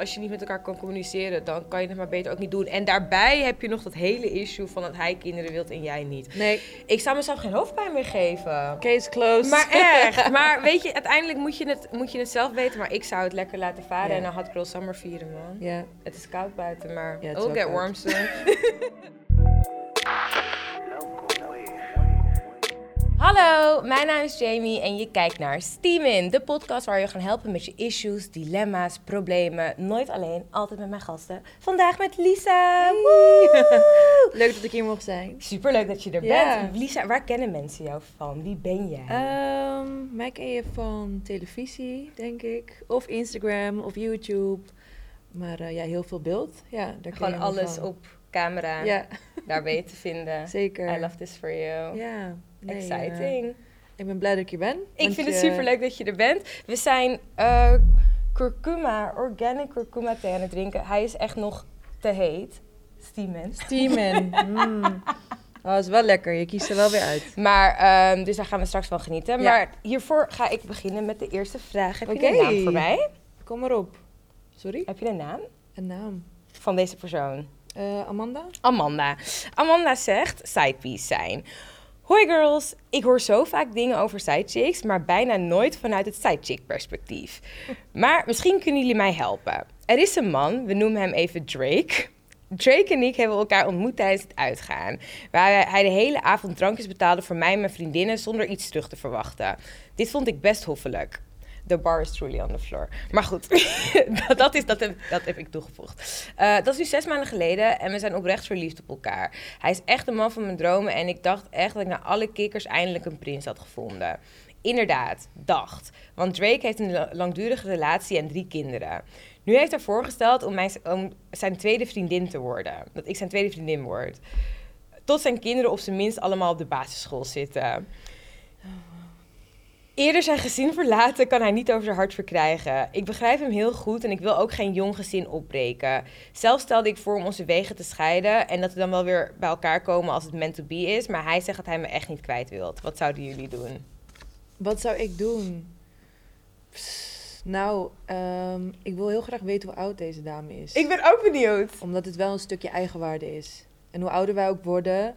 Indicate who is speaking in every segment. Speaker 1: Als je niet met elkaar kan communiceren, dan kan je het maar beter ook niet doen. En daarbij heb je nog dat hele issue van dat hij kinderen wilt en jij niet.
Speaker 2: Nee,
Speaker 1: Ik zou mezelf geen hoofdpijn meer geven.
Speaker 2: case closed.
Speaker 1: Maar echt. Maar weet je, uiteindelijk moet je het, moet je het zelf weten. Maar ik zou het lekker laten varen
Speaker 2: Ja.
Speaker 1: en dan had Girl Summer vieren, man.
Speaker 2: Ja.
Speaker 1: Het is koud buiten, maar
Speaker 2: Ja, het is
Speaker 1: we'll get
Speaker 2: wel koud.
Speaker 1: warm soon. Hallo, mijn naam is Jamie en je kijkt naar Steamin, de podcast waar je gaan helpen met je issues, dilemma's, problemen. Nooit alleen, altijd met mijn gasten. Vandaag met Lisa. Woe!
Speaker 2: Leuk dat ik hier mocht zijn.
Speaker 1: Superleuk dat je er
Speaker 2: Ja.
Speaker 1: bent. Lisa, waar kennen mensen jou van? Wie ben jij?
Speaker 2: Ehm, mij ken je van televisie, denk ik. Of Instagram of YouTube. Maar eh, ja, heel veel beeld. Ja, daar ken je
Speaker 1: Gewoon
Speaker 2: me
Speaker 1: alles
Speaker 2: van.
Speaker 1: op camera.
Speaker 2: Ja,
Speaker 1: Daar ben je te vinden.
Speaker 2: zeker.
Speaker 1: I love this for you.
Speaker 2: Ja. nee, eh,
Speaker 1: Exciting.
Speaker 2: ik ben blij dat ik hier ben.
Speaker 1: ik vind het super leuk dat je er bent. We zijn eh, curcuma, organic curcuma thee aan het drinken. Hij is echt nog te heet. Steamen.
Speaker 2: Steamen. mm. Oh, is wel lekker. Je kiest er wel weer uit.
Speaker 1: Maar, ehm, dus daar gaan we straks van genieten.
Speaker 2: Ja.
Speaker 1: Maar hiervoor ga ik beginnen met de eerste vraag. Heb je
Speaker 2: Oké.
Speaker 1: een naam voor mij?
Speaker 2: Kom maar op. Sorry?
Speaker 1: Heb je een naam
Speaker 2: Een naam.
Speaker 1: van deze persoon?
Speaker 2: Eh, Amanda?
Speaker 1: Amanda. Amanda zegt sidepiece zijn. Hoi girls, ik hoor zo vaak dingen over sidechicks, maar bijna nooit vanuit het sidechick perspectief. Maar misschien kunnen jullie mij helpen. Er is een man, we noemen hem even Drake. Drake en ik hebben elkaar ontmoet tijdens het uitgaan. Waar hij de hele avond drankjes betaalde voor mij en mijn vriendinnen zonder iets terug te verwachten. Dit vond ik best hoffelijk. The bar is truly on the floor. Maar goed, dat, dat, is, dat, heb, dat heb ik toegevoegd. Eh, dat is nu zes maanden geleden en we zijn oprecht verliefd op elkaar. Hij is echt de man van mijn dromen en ik dacht echt dat ik na alle kikkers eindelijk een prins had gevonden. Inderdaad, dacht. Want Drake heeft een la- langdurige relatie en drie kinderen. Nu heeft hij voorgesteld om, mijn, om zijn tweede vriendin te worden. Dat ik zijn tweede vriendin word. Tot zijn kinderen op zijn minst allemaal op de basisschool zitten. Eerder zijn gezin verlaten kan hij niet over zijn hart verkrijgen. Ik begrijp hem heel goed en ik wil ook geen jong gezin opbreken. Zelf stelde ik voor om onze wegen te scheiden en dat we dan wel weer bij elkaar komen als het meant to be is. Maar hij zegt dat hij me echt niet kwijt wil. Wat zouden jullie doen?
Speaker 2: Wat zou ik doen? Pss, nou, ehm, ik wil heel graag weten hoe oud deze dame is.
Speaker 1: ben ook benieuwd.
Speaker 2: Omdat het wel een stukje eigenwaarde is. En hoe ouder wij ook worden,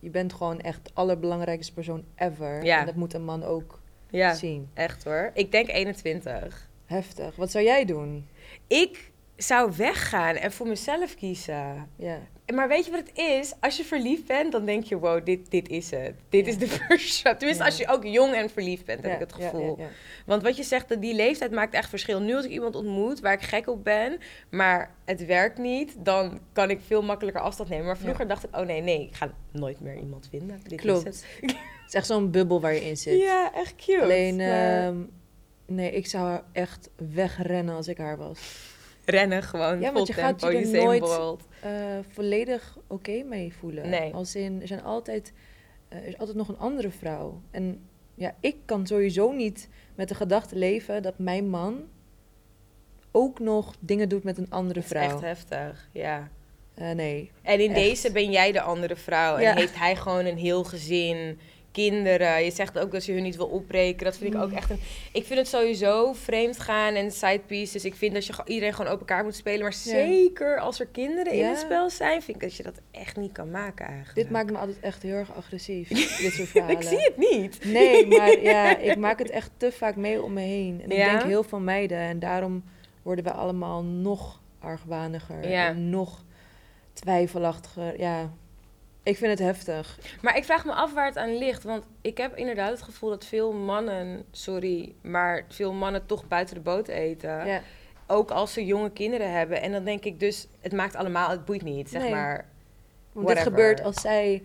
Speaker 2: je bent gewoon echt de allerbelangrijkste persoon ever.
Speaker 1: Ja.
Speaker 2: En dat moet een man ook
Speaker 1: Ja,
Speaker 2: zien.
Speaker 1: echt hoor. Ik denk 21.
Speaker 2: Heftig. Wat zou jij doen?
Speaker 1: Ik zou weggaan en voor mezelf kiezen.
Speaker 2: Ja.
Speaker 1: Maar weet je wat het is? Als je verliefd bent, dan denk je, wow, dit, dit is het. Dit
Speaker 2: Ja.
Speaker 1: is de persoon. Tenminste,
Speaker 2: Ja.
Speaker 1: als je ook jong en verliefd bent, heb
Speaker 2: Ja,
Speaker 1: ik het
Speaker 2: ja, ja,
Speaker 1: gevoel.
Speaker 2: ja.
Speaker 1: Want wat je zegt, dat die leeftijd maakt echt verschil. Nu als ik iemand ontmoet waar ik gek op ben, maar het werkt niet, dan kan ik veel makkelijker afstand nemen. Maar vroeger dacht ik, oh nee, nee, ik ga nooit meer iemand vinden. Dit is
Speaker 2: Klopt.
Speaker 1: het.
Speaker 2: Het is echt zo'n bubbel waar je in zit.
Speaker 1: Ja, echt cute. Eh,
Speaker 2: Alleen,
Speaker 1: Maar
Speaker 2: ehm, nee, ik zou haar echt wegrennen als ik haar was.
Speaker 1: rennen gewoon,
Speaker 2: ja,
Speaker 1: vol
Speaker 2: want je gaat
Speaker 1: tempo,
Speaker 2: je er
Speaker 1: Usain
Speaker 2: nooit-
Speaker 1: Bolt.
Speaker 2: eh, volledig oké mee voelen.
Speaker 1: Nee.
Speaker 2: Als in, er, zijn altijd, eh, er is altijd nog een andere vrouw. En ja, ik kan sowieso niet met de gedachte leven dat mijn man ook nog dingen doet met een andere
Speaker 1: Dat is echt
Speaker 2: vrouw.
Speaker 1: heftig, ja.
Speaker 2: Eh, nee.
Speaker 1: En in
Speaker 2: Echt.
Speaker 1: deze ben jij de andere vrouw en
Speaker 2: Ja.
Speaker 1: heeft hij gewoon een heel gezin, kinderen. Je zegt ook dat je hun niet wil opbreken. Dat vind ik
Speaker 2: Mm.
Speaker 1: ook echt een... Ik vind het sowieso vreemd gaan en side pieces. Ik vind dat je ge- iedereen gewoon op elkaar moet spelen. Maar
Speaker 2: Ja.
Speaker 1: zeker als er kinderen in
Speaker 2: Ja.
Speaker 1: het spel zijn, vind ik dat je dat echt niet kan maken eigenlijk.
Speaker 2: Dit maakt me altijd echt heel erg agressief, dit soort verhalen.
Speaker 1: Ik zie het niet.
Speaker 2: Nee, maar ja, ik maak het echt te vaak mee om me heen. En ik
Speaker 1: Ja?
Speaker 2: denk heel veel meiden. En daarom worden we allemaal nog argwaniger.
Speaker 1: Ja.
Speaker 2: En nog twijfelachtiger. Ja, ik vind het heftig.
Speaker 1: Maar ik vraag me af waar het aan ligt. Want ik heb inderdaad het gevoel dat veel mannen, sorry, maar veel mannen toch buiten de boot eten.
Speaker 2: Ja.
Speaker 1: Ook als ze jonge kinderen hebben. En dan denk ik dus, het maakt allemaal, het boeit niet, zeg
Speaker 2: Nee.
Speaker 1: maar.
Speaker 2: Want dit
Speaker 1: Whatever.
Speaker 2: gebeurt als zij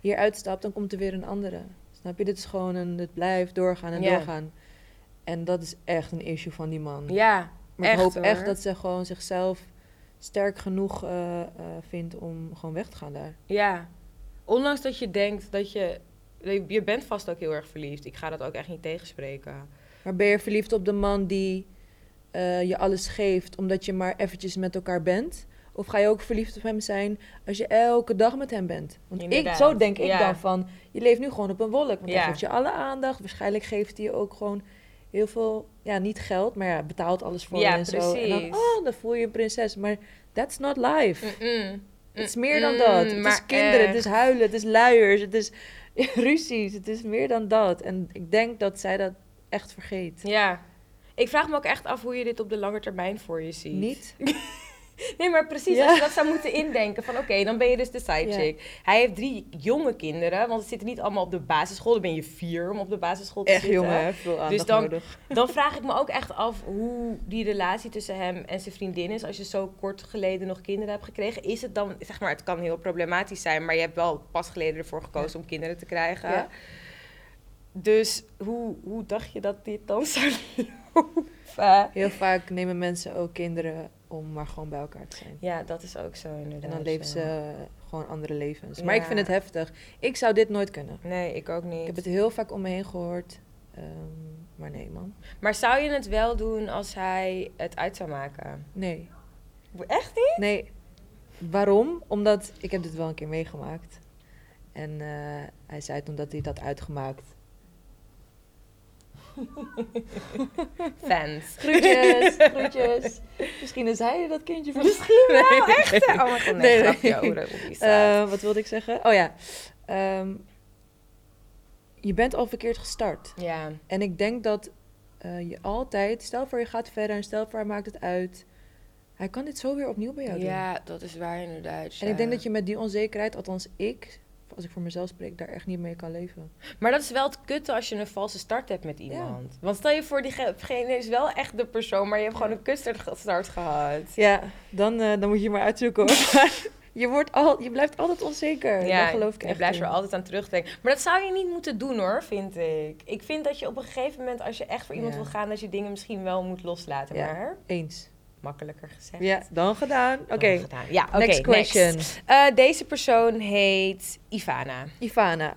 Speaker 2: hier uitstapt, dan komt er weer een andere. Snap je? Dit is gewoon een, het blijft doorgaan en
Speaker 1: Ja.
Speaker 2: doorgaan. En dat is echt een issue van die man.
Speaker 1: Ja,
Speaker 2: maar ik
Speaker 1: echt,
Speaker 2: hoop echt
Speaker 1: hoor.
Speaker 2: dat ze gewoon zichzelf sterk genoeg eh, eh, vindt om gewoon weg te gaan daar.
Speaker 1: ja. Ondanks dat je denkt dat je... Je bent vast ook heel erg verliefd. Ik ga dat ook echt niet tegenspreken.
Speaker 2: Maar ben je verliefd op de man die eh, je alles geeft omdat je maar eventjes met elkaar bent? Of ga je ook verliefd op hem zijn als je elke dag met hem bent? Want ik,
Speaker 1: Inderdaad,
Speaker 2: zo denk ik
Speaker 1: ja.
Speaker 2: dan van, je leeft nu gewoon op een wolk. Want
Speaker 1: Ja.
Speaker 2: hij geeft je alle aandacht. Waarschijnlijk geeft hij je ook gewoon heel veel, ja, niet geld, maar ja, betaalt alles voor
Speaker 1: Ja,
Speaker 2: je en zo. En dan,
Speaker 1: precies.
Speaker 2: oh, dan voel je je een prinses. Maar that's not life.
Speaker 1: Mm-mm.
Speaker 2: Het is meer dan dat.
Speaker 1: Mm,
Speaker 2: Het is
Speaker 1: maar
Speaker 2: kinderen, dus-
Speaker 1: echt.
Speaker 2: het is huilen, het is luiers, het is ruzies. Het is meer dan dat. En ik denk dat zij dat echt vergeet.
Speaker 1: Ja. Ik vraag me ook echt af hoe je dit op de lange termijn voor je ziet.
Speaker 2: Niet?
Speaker 1: Nee, maar precies,
Speaker 2: Ja.
Speaker 1: als je dat zou moeten indenken van oké, dan ben je dus de sidechick. Hij heeft drie jonge kinderen, want ze zitten niet allemaal op de basisschool. Dan ben je vier om op de basisschool te
Speaker 2: Echt
Speaker 1: zitten.
Speaker 2: jongen, hè? veel aandacht
Speaker 1: Dus dan-
Speaker 2: nodig.
Speaker 1: Dan vraag ik me ook echt af hoe die relatie tussen hem en zijn vriendin is. Als je zo kort geleden nog kinderen hebt gekregen, is het dan, zeg maar, het kan heel problematisch zijn, maar je hebt wel pas geleden ervoor gekozen om kinderen te krijgen.
Speaker 2: Ja.
Speaker 1: Dus hoe, hoe dacht je dat dit dan zou lopen?
Speaker 2: Heel vaak nemen mensen ook kinderen om maar gewoon bij elkaar te zijn.
Speaker 1: Ja, dat is ook zo inderdaad.
Speaker 2: En dan leven
Speaker 1: ja.
Speaker 2: ze gewoon andere levens. Maar ik
Speaker 1: Ja.
Speaker 2: vind het heftig. Ik zou dit nooit kunnen.
Speaker 1: Nee, ik ook
Speaker 2: Ik
Speaker 1: niet.
Speaker 2: heb het heel vaak om me heen gehoord. Ehm, maar nee, man.
Speaker 1: Maar zou je het wel doen als hij het uit zou maken?
Speaker 2: Nee.
Speaker 1: Echt niet?
Speaker 2: Nee. Waarom? Omdat ik heb dit wel een keer meegemaakt. En eh, hij zei toen dat hij dat uitgemaakt. Hm.
Speaker 1: Fans.
Speaker 2: Groetjes, groetjes. Misschien is hij dat kindje van
Speaker 1: Misschien wel,
Speaker 2: Nee.
Speaker 1: echt? hè? Oh mijn god,
Speaker 2: Nee,
Speaker 1: nee,
Speaker 2: nee.
Speaker 1: grapje. Oh, dat- oh, die staat.
Speaker 2: Eh, wat wilde ik zeggen? Oh ja. Ehm, je bent al verkeerd gestart.
Speaker 1: Ja,
Speaker 2: En ik denk dat eh, je altijd, stel voor je gaat verder en stel voor hij maakt het uit. Hij kan dit zo weer opnieuw bij jou doen.
Speaker 1: ja, dat is waar inderdaad.
Speaker 2: En ik denk dat je met die onzekerheid, althans ik, als ik voor mezelf spreek, daar echt niet mee kan leven.
Speaker 1: Maar dat is wel het kutte als je een valse start hebt met iemand. Want stel je voor, diegene is wel echt de persoon, maar je hebt gewoon een kutstart gehad.
Speaker 2: Ja, dan, eh, dan moet je maar uitzoeken hoor. je, wordt al, je blijft altijd onzeker. Ja, geloof ik
Speaker 1: je
Speaker 2: echt
Speaker 1: blijft
Speaker 2: in.
Speaker 1: er altijd aan terugdenken. Maar dat zou je niet moeten doen hoor, vind ik. Ik vind dat je op een gegeven moment, als je echt voor iemand
Speaker 2: Ja.
Speaker 1: wil gaan, dat je dingen misschien wel moet loslaten.
Speaker 2: Ja.
Speaker 1: Maar
Speaker 2: Eens.
Speaker 1: makkelijker gezegd.
Speaker 2: Ja, dan gedaan. Oké,
Speaker 1: dan gedaan. Ja, oké.
Speaker 2: next question.
Speaker 1: Eh, deze persoon heet Ivana.
Speaker 2: Ivana.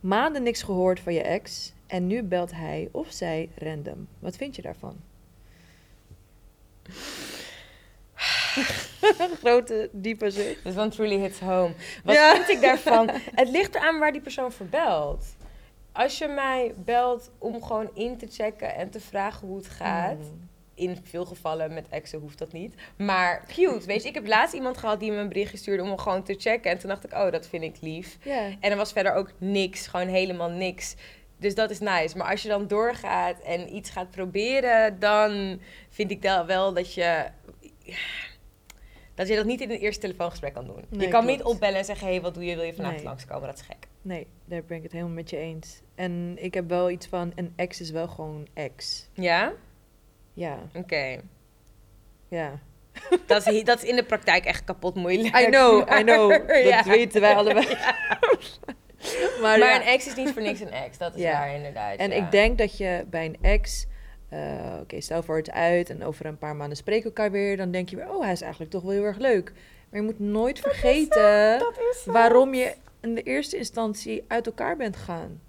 Speaker 2: Maanden niks gehoord van je ex en nu belt hij of zij random. Wat vind je daarvan? Grote, diepe zucht.
Speaker 1: Dus one truly hits home. Wat
Speaker 2: Ja.
Speaker 1: vind ik daarvan? Het ligt eraan waar die persoon voor belt. Als je mij belt om gewoon in te checken en te vragen hoe het gaat.
Speaker 2: Mm.
Speaker 1: In veel gevallen met exen hoeft dat niet. Maar cute, weet je. Ik heb laatst iemand gehad die me een berichtje stuurde om hem gewoon te checken. En toen dacht ik, oh, dat vind ik lief.
Speaker 2: Ja.
Speaker 1: En er was verder ook niks, gewoon helemaal niks. Dus dat is nice. Maar als je dan doorgaat en iets gaat proberen, dan vind ik da- wel dat je. Dat je dat niet in een eerste telefoongesprek kan doen.
Speaker 2: Nee,
Speaker 1: je kan
Speaker 2: klopt.
Speaker 1: niet opbellen en zeggen: hé, hey, wat doe je? Wil je vanavond
Speaker 2: Nee.
Speaker 1: langskomen? Dat is gek.
Speaker 2: Nee, daar ben ik het helemaal met je eens. En ik heb wel iets van, een ex is wel gewoon ex.
Speaker 1: Ja?
Speaker 2: Ja,
Speaker 1: Oké.
Speaker 2: ja.
Speaker 1: Dat, is, dat is in de praktijk echt kapot moeilijk.
Speaker 2: I know, I know. Dat
Speaker 1: Maar- Ja.
Speaker 2: weten wij allebei.
Speaker 1: Maar
Speaker 2: ja.
Speaker 1: een ex is niet voor niks een ex. Dat is
Speaker 2: Ja.
Speaker 1: waar, inderdaad.
Speaker 2: En
Speaker 1: ja.
Speaker 2: ik denk dat je bij een ex, eh, oké, stel voor het uit en over een paar maanden spreken we elkaar weer, dan denk je weer, oh, hij is eigenlijk toch wel heel erg leuk. Maar je moet nooit vergeten
Speaker 1: Dat is zo.
Speaker 2: waarom je in de eerste instantie uit elkaar bent gegaan.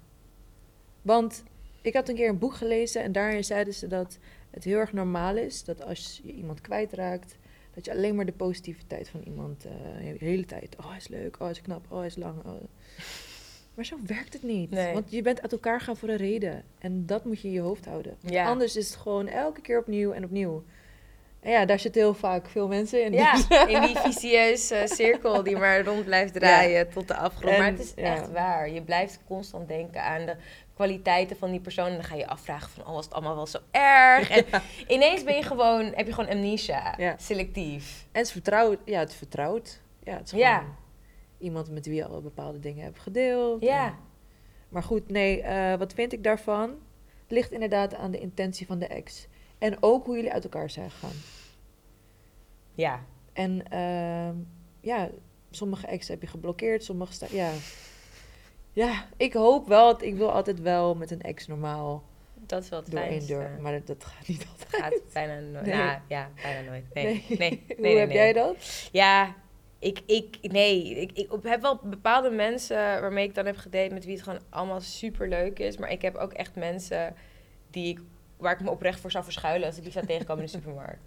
Speaker 2: Want ik had een keer een boek gelezen en daarin zeiden ze dat het heel erg normaal is dat als je iemand kwijtraakt, dat je alleen maar de positiviteit van iemand eh, de hele tijd, oh hij is leuk, oh hij is knap, oh hij is lang. oh. Maar zo werkt het niet.
Speaker 1: Nee.
Speaker 2: Want je bent uit elkaar gaan voor een reden. En dat moet je in je hoofd houden. Want
Speaker 1: Ja.
Speaker 2: Anders is het gewoon elke keer opnieuw en opnieuw. En ja, daar zitten heel vaak veel mensen in. Dus-
Speaker 1: Ja, in die vicieuze eh, cirkel die maar rond blijft draaien tot de afgrond. maar
Speaker 2: En,
Speaker 1: het is
Speaker 2: ja.
Speaker 1: echt waar. Je blijft constant denken aan de kwaliteiten van die persoon. En dan ga je afvragen van, oh, was het allemaal wel zo erg? En ineens ben je gewoon, heb je gewoon amnesia.
Speaker 2: Ja.
Speaker 1: Selectief.
Speaker 2: En het is vertrouwd. Ja, het is vertrouwd. Ja, het is gewoon
Speaker 1: Ja.
Speaker 2: iemand met wie je al bepaalde dingen hebt gedeeld.
Speaker 1: Ja.
Speaker 2: En- maar goed, nee, eh, wat vind ik daarvan? Ligt inderdaad aan de intentie van de ex. En ook hoe jullie uit elkaar zijn gegaan.
Speaker 1: Ja.
Speaker 2: En ehm, ja, sommige ex heb je geblokkeerd, sommige sta- ja. Ja, ik hoop wel. dat- Ik wil altijd wel met een ex normaal
Speaker 1: Dat is wel het
Speaker 2: door één
Speaker 1: fijnste.
Speaker 2: deur. Maar dat, dat gaat niet altijd.
Speaker 1: Gaat bijna nooit.
Speaker 2: Nee.
Speaker 1: Nou, ja, bijna nooit. Nee, nee, nee. nee,
Speaker 2: Hoe
Speaker 1: nee,
Speaker 2: heb
Speaker 1: nee.
Speaker 2: jij dat?
Speaker 1: Ja, ik, ik, nee, ik, ik op- heb wel bepaalde mensen waarmee ik dan heb gedate, met wie het gewoon allemaal super leuk is. Maar ik heb ook echt mensen die ik, waar ik me oprecht voor zou verschuilen als ik die zou tegenkomen in de supermarkt.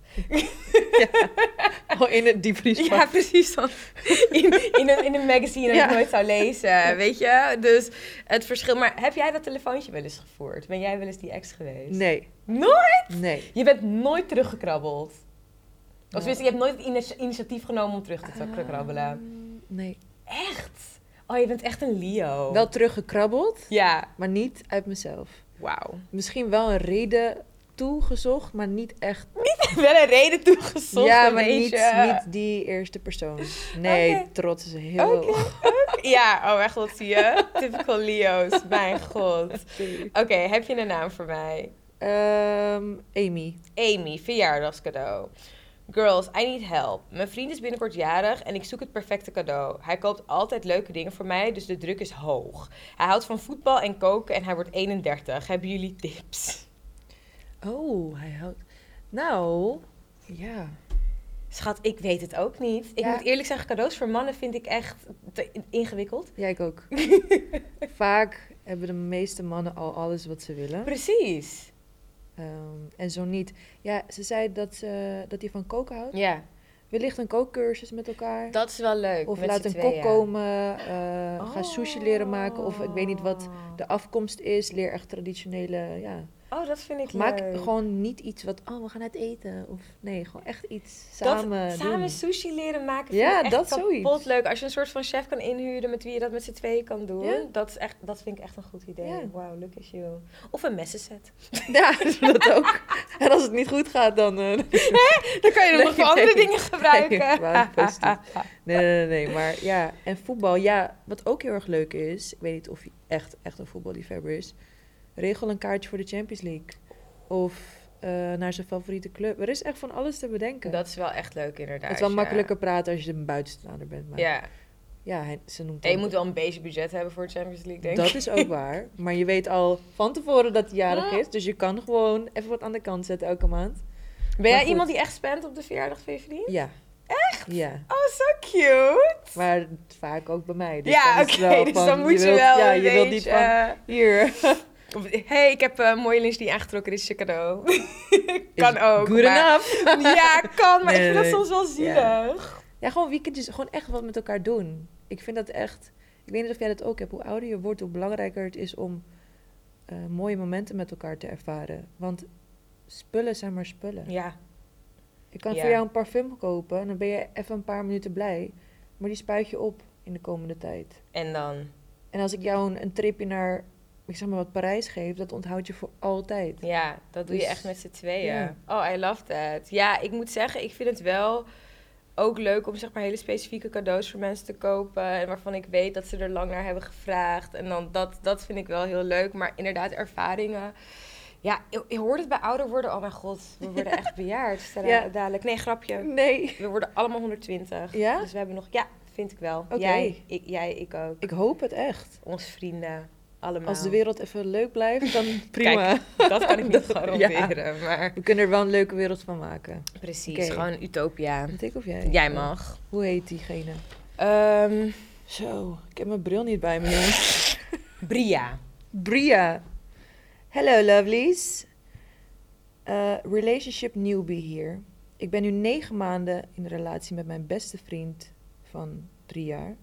Speaker 2: Oh, in het diepvriespak.
Speaker 1: ja, precies dan. in, in, een, in een magazine dat
Speaker 2: Ja.
Speaker 1: ik nooit zou lezen, weet je? Dus het verschil. Maar heb jij dat telefoontje wel eens gevoerd? Ben jij wel eens die ex geweest?
Speaker 2: Nee,
Speaker 1: Nooit?
Speaker 2: nee.
Speaker 1: Je bent nooit teruggekrabbeld. Of
Speaker 2: Nou.
Speaker 1: tenminste, je hebt nooit het initi- initiatief genomen om terug te tra- krabbelen.
Speaker 2: Ah, nee.
Speaker 1: Echt?
Speaker 2: Ah.
Speaker 1: Oh, je bent echt een Leo.
Speaker 2: Wel teruggekrabbeld,
Speaker 1: Ja.
Speaker 2: maar niet uit mezelf.
Speaker 1: Wauw.
Speaker 2: Misschien wel een reden toegezocht, maar niet echt.
Speaker 1: wel een reden toegezocht.
Speaker 2: ja,
Speaker 1: een
Speaker 2: maar niet,
Speaker 1: beetje.
Speaker 2: niet die eerste persoon. Nee,
Speaker 1: Oké.
Speaker 2: trots is heel.
Speaker 1: Oké, oké. Ja, oh mijn god, zie je? Typical Leo's, mijn god. Oké, heb je een naam voor mij?
Speaker 2: Ehm, Amy.
Speaker 1: Amy, verjaardagscadeau. Girls, I need help. Mijn vriend is binnenkort jarig en ik zoek het perfecte cadeau. Hij koopt altijd leuke dingen voor mij, dus de druk is hoog. Hij houdt van voetbal en koken en hij wordt 31. Hebben jullie tips?
Speaker 2: Oh, hij houdt. Nou, ja.
Speaker 1: Schat, ik weet het ook niet. Ik
Speaker 2: Ja.
Speaker 1: moet eerlijk zeggen, cadeaus voor mannen vind ik echt te ingewikkeld.
Speaker 2: Jij ik ook. Vaak hebben de meeste mannen al alles wat ze willen.
Speaker 1: Precies.
Speaker 2: Ehm, en zo niet. Ja, ze zei dat, ze, dat hij van koken houdt.
Speaker 1: Ja,
Speaker 2: Wellicht een kookcursus met elkaar.
Speaker 1: dat is wel leuk.
Speaker 2: of
Speaker 1: met
Speaker 2: laat
Speaker 1: z'n
Speaker 2: een kok
Speaker 1: tweeën. Oh.
Speaker 2: komen. eh, Ga sushi leren maken. Of ik weet niet wat de afkomst is. Leer echt traditionele. Ja.
Speaker 1: Oh, dat vind ik
Speaker 2: Maak
Speaker 1: leuk.
Speaker 2: gewoon niet iets wat. Oh, we gaan uit eten. Of nee, gewoon echt iets
Speaker 1: Dat-
Speaker 2: samen. doen.
Speaker 1: samen sushi leren maken.
Speaker 2: Ja,
Speaker 1: vind ik
Speaker 2: dat
Speaker 1: echt kapot
Speaker 2: zoiets.
Speaker 1: leuk. Als je een soort van chef kan inhuren met wie je dat met z'n tweeën kan doen.
Speaker 2: Ja.
Speaker 1: Dat, is echt, dat vind ik echt een goed idee.
Speaker 2: Ja.
Speaker 1: Wauw, look at you. Of een messenset.
Speaker 2: Ja, dat ook. En als het niet goed gaat, dan. eh,
Speaker 1: Dan kan je hem
Speaker 2: Nee,
Speaker 1: nog voor andere
Speaker 2: nee.
Speaker 1: dingen gebruiken.
Speaker 2: Nee, wauw, positief. Nee, nee, nee, nee, Maar ja, en voetbal. Ja, wat ook heel erg leuk is. Ik weet niet of je echt, echt een voetballiefhebber is. Regel een kaartje voor de Champions League. Of eh, naar zijn favoriete club. Er is echt van alles te bedenken.
Speaker 1: Dat is wel echt leuk inderdaad.
Speaker 2: het is wel
Speaker 1: ja.
Speaker 2: makkelijker praten als je een buitenstaander bent. Maar ja,
Speaker 1: Ja.
Speaker 2: hij- ze noemt
Speaker 1: En je
Speaker 2: ook-
Speaker 1: moet wel een beetje budget hebben voor de Champions League, denk ik.
Speaker 2: Dat is ook waar. Maar je weet al van tevoren dat hij jarig
Speaker 1: Ja.
Speaker 2: is. Dus je kan gewoon even wat aan de kant zetten elke maand.
Speaker 1: Ben
Speaker 2: Maar
Speaker 1: jij
Speaker 2: goed.
Speaker 1: iemand die echt spent op de verjaardag van je vriend?
Speaker 2: Ja. Echt? Ja.
Speaker 1: Oh, zo cute.
Speaker 2: Maar het- vaak ook bij mij. Dus
Speaker 1: ja,
Speaker 2: dan
Speaker 1: oké.
Speaker 2: is het wel
Speaker 1: dus
Speaker 2: van,
Speaker 1: dan moet je,
Speaker 2: wilt-
Speaker 1: wel
Speaker 2: Ja,
Speaker 1: een
Speaker 2: je wilt niet
Speaker 1: beetje,
Speaker 2: van...
Speaker 1: eh,
Speaker 2: Hier.
Speaker 1: Of, hey, ik heb eh, een mooie lingerie aangetrokken, dit is je cadeau. kan ook.
Speaker 2: Good
Speaker 1: maar-
Speaker 2: enough.
Speaker 1: Ja, kan, maar
Speaker 2: Nee,
Speaker 1: ik vind dat
Speaker 2: nee,
Speaker 1: soms wel
Speaker 2: ja.
Speaker 1: zielig.
Speaker 2: Ja, gewoon weekendjes. Gewoon echt wat met elkaar doen. Ik vind dat echt... Ik weet niet of jij dat ook hebt. Hoe ouder je wordt, hoe belangrijker het is om eh, mooie momenten met elkaar te ervaren. Want spullen zijn maar spullen.
Speaker 1: Ja,
Speaker 2: Ik kan
Speaker 1: Ja.
Speaker 2: voor jou een parfum kopen en dan ben je even een paar minuten blij. Maar die spuit je op in de komende tijd.
Speaker 1: en dan?
Speaker 2: En als ik jou een, een tripje naar, ik zeg maar wat, Parijs geef, dat onthoud je voor altijd.
Speaker 1: Ja, dat doe je
Speaker 2: Dus-
Speaker 1: echt met z'n tweeën.
Speaker 2: ja.
Speaker 1: Oh, I love that. Ja, ik moet zeggen, ik vind het wel ook leuk om zeg maar hele specifieke cadeaus voor mensen te kopen. En waarvan ik weet dat ze er lang naar hebben gevraagd. En dan dat, dat vind ik wel heel leuk. Maar inderdaad, ervaringen. Ja, je, je hoort het bij ouder worden. Oh mijn god, we worden echt bejaard. tada-
Speaker 2: Ja.
Speaker 1: Dadelijk. Nee, grapje.
Speaker 2: Nee.
Speaker 1: We worden allemaal 120.
Speaker 2: Ja?
Speaker 1: Dus we hebben nog... Ja, vind ik wel.
Speaker 2: Oké.
Speaker 1: Jij, ik, jij, ik ook.
Speaker 2: Ik hoop het echt.
Speaker 1: Onze vrienden. Allemaal.
Speaker 2: Als de wereld even leuk blijft, dan prima.
Speaker 1: Dat kan ik niet
Speaker 2: Ja.
Speaker 1: garanderen, maar...
Speaker 2: We kunnen er wel een leuke wereld van maken.
Speaker 1: Precies,
Speaker 2: Oké.
Speaker 1: gewoon utopia.
Speaker 2: Wat ik of jij?
Speaker 1: Jij mag.
Speaker 2: Hoe heet diegene?
Speaker 1: Ehm,
Speaker 2: Zo, ik heb mijn bril niet bij me, jongens.
Speaker 1: Bria.
Speaker 2: Bria. Hello, lovelies. Eh, relationship newbie hier. Ik ben nu negen maanden in een relatie met mijn beste vriend van drie jaar.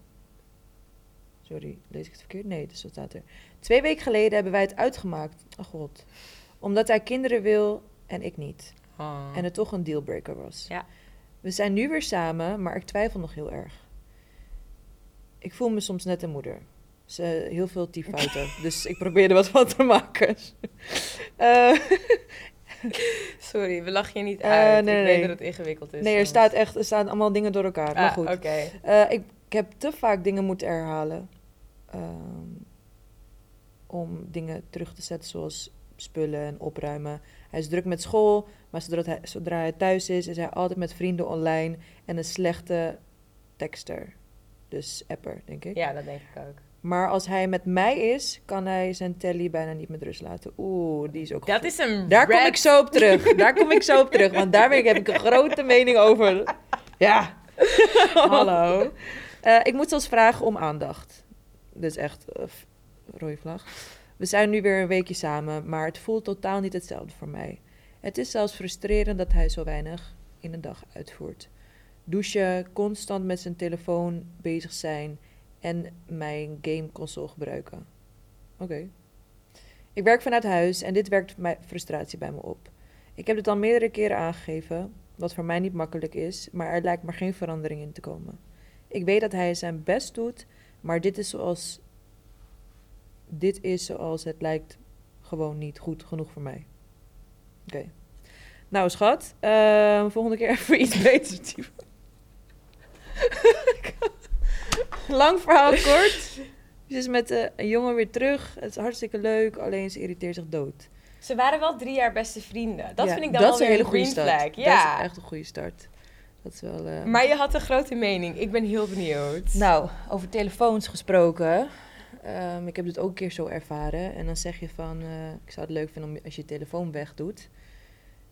Speaker 2: Sorry, lees ik het verkeerd? Nee, dus dat staat er. Twee weken geleden hebben wij het uitgemaakt. Oh god. Omdat hij kinderen wil en ik niet. En het toch een dealbreaker was.
Speaker 1: Oh. Ja.
Speaker 2: We zijn nu weer samen, maar ik twijfel nog heel erg. Ik voel me soms net een moeder. Ze, heel veel tyffouten, dus ik probeer er wat van te maken. Eh,
Speaker 1: Sorry, we lachen je niet
Speaker 2: Eh,
Speaker 1: uit.
Speaker 2: nee,
Speaker 1: ik
Speaker 2: nee.
Speaker 1: weet dat het ingewikkeld is.
Speaker 2: nee, er,
Speaker 1: soms.
Speaker 2: staat echt, er staan allemaal dingen door elkaar.
Speaker 1: Dus,
Speaker 2: maar
Speaker 1: eh, Ah,
Speaker 2: goed,
Speaker 1: Oké.
Speaker 2: Eh, ik, ik heb te vaak dingen moeten herhalen. ehm, om dingen terug te zetten, zoals spullen en opruimen. Hij is druk met school, maar zodra hij, zodra hij thuis is, is hij altijd met vrienden online en een slechte tekster. Dus apper, denk ik.
Speaker 1: Ja, dat denk ik ook.
Speaker 2: Maar als hij met mij is, kan hij zijn telly bijna niet met rust laten. Oeh, die is ook
Speaker 1: Dat is een
Speaker 2: daar kom
Speaker 1: red-
Speaker 2: ik zo op terug. Daar kom ik zo op terug. Want daarmee heb ik een grote mening over. Ja. Hallo. Eh, ik moet zelfs vragen om aandacht. Dus echt, eh, f- rode vlag. We zijn nu weer een weekje samen, maar het voelt totaal niet hetzelfde voor mij. Het is zelfs frustrerend dat hij zo weinig in een dag uitvoert. douchen, constant met zijn telefoon bezig zijn en mijn gameconsole gebruiken. Oké. Ik werk vanuit huis en dit werkt mijn frustratie bij me op. Ik heb dit al meerdere keren aangegeven, wat voor mij niet makkelijk is, maar er lijkt maar geen verandering in te komen. Ik weet dat hij zijn best doet, maar dit is zoals. Dit is zoals het lijkt gewoon niet goed genoeg voor mij. Oké. Nou, schat, ehm, volgende keer even iets beters typen. Lang verhaal kort. Ze is met eh, een jongen weer terug. Het is hartstikke leuk, alleen ze irriteert zich dood.
Speaker 1: Ze waren wel drie jaar beste vrienden. Dat
Speaker 2: Ja,
Speaker 1: vind ik dan
Speaker 2: dat
Speaker 1: wel
Speaker 2: is
Speaker 1: weer een
Speaker 2: hele goede
Speaker 1: green
Speaker 2: start.
Speaker 1: flag.
Speaker 2: Dat
Speaker 1: Ja.
Speaker 2: is echt een goede start. Dat is wel. eh,
Speaker 1: Maar je had een grote mening. Ik ben heel benieuwd.
Speaker 2: Nou, over telefoons gesproken. Ehm, ik heb dit ook een keer zo ervaren. En dan zeg je van, eh, ik zou het leuk vinden om je- als je je telefoon wegdoet.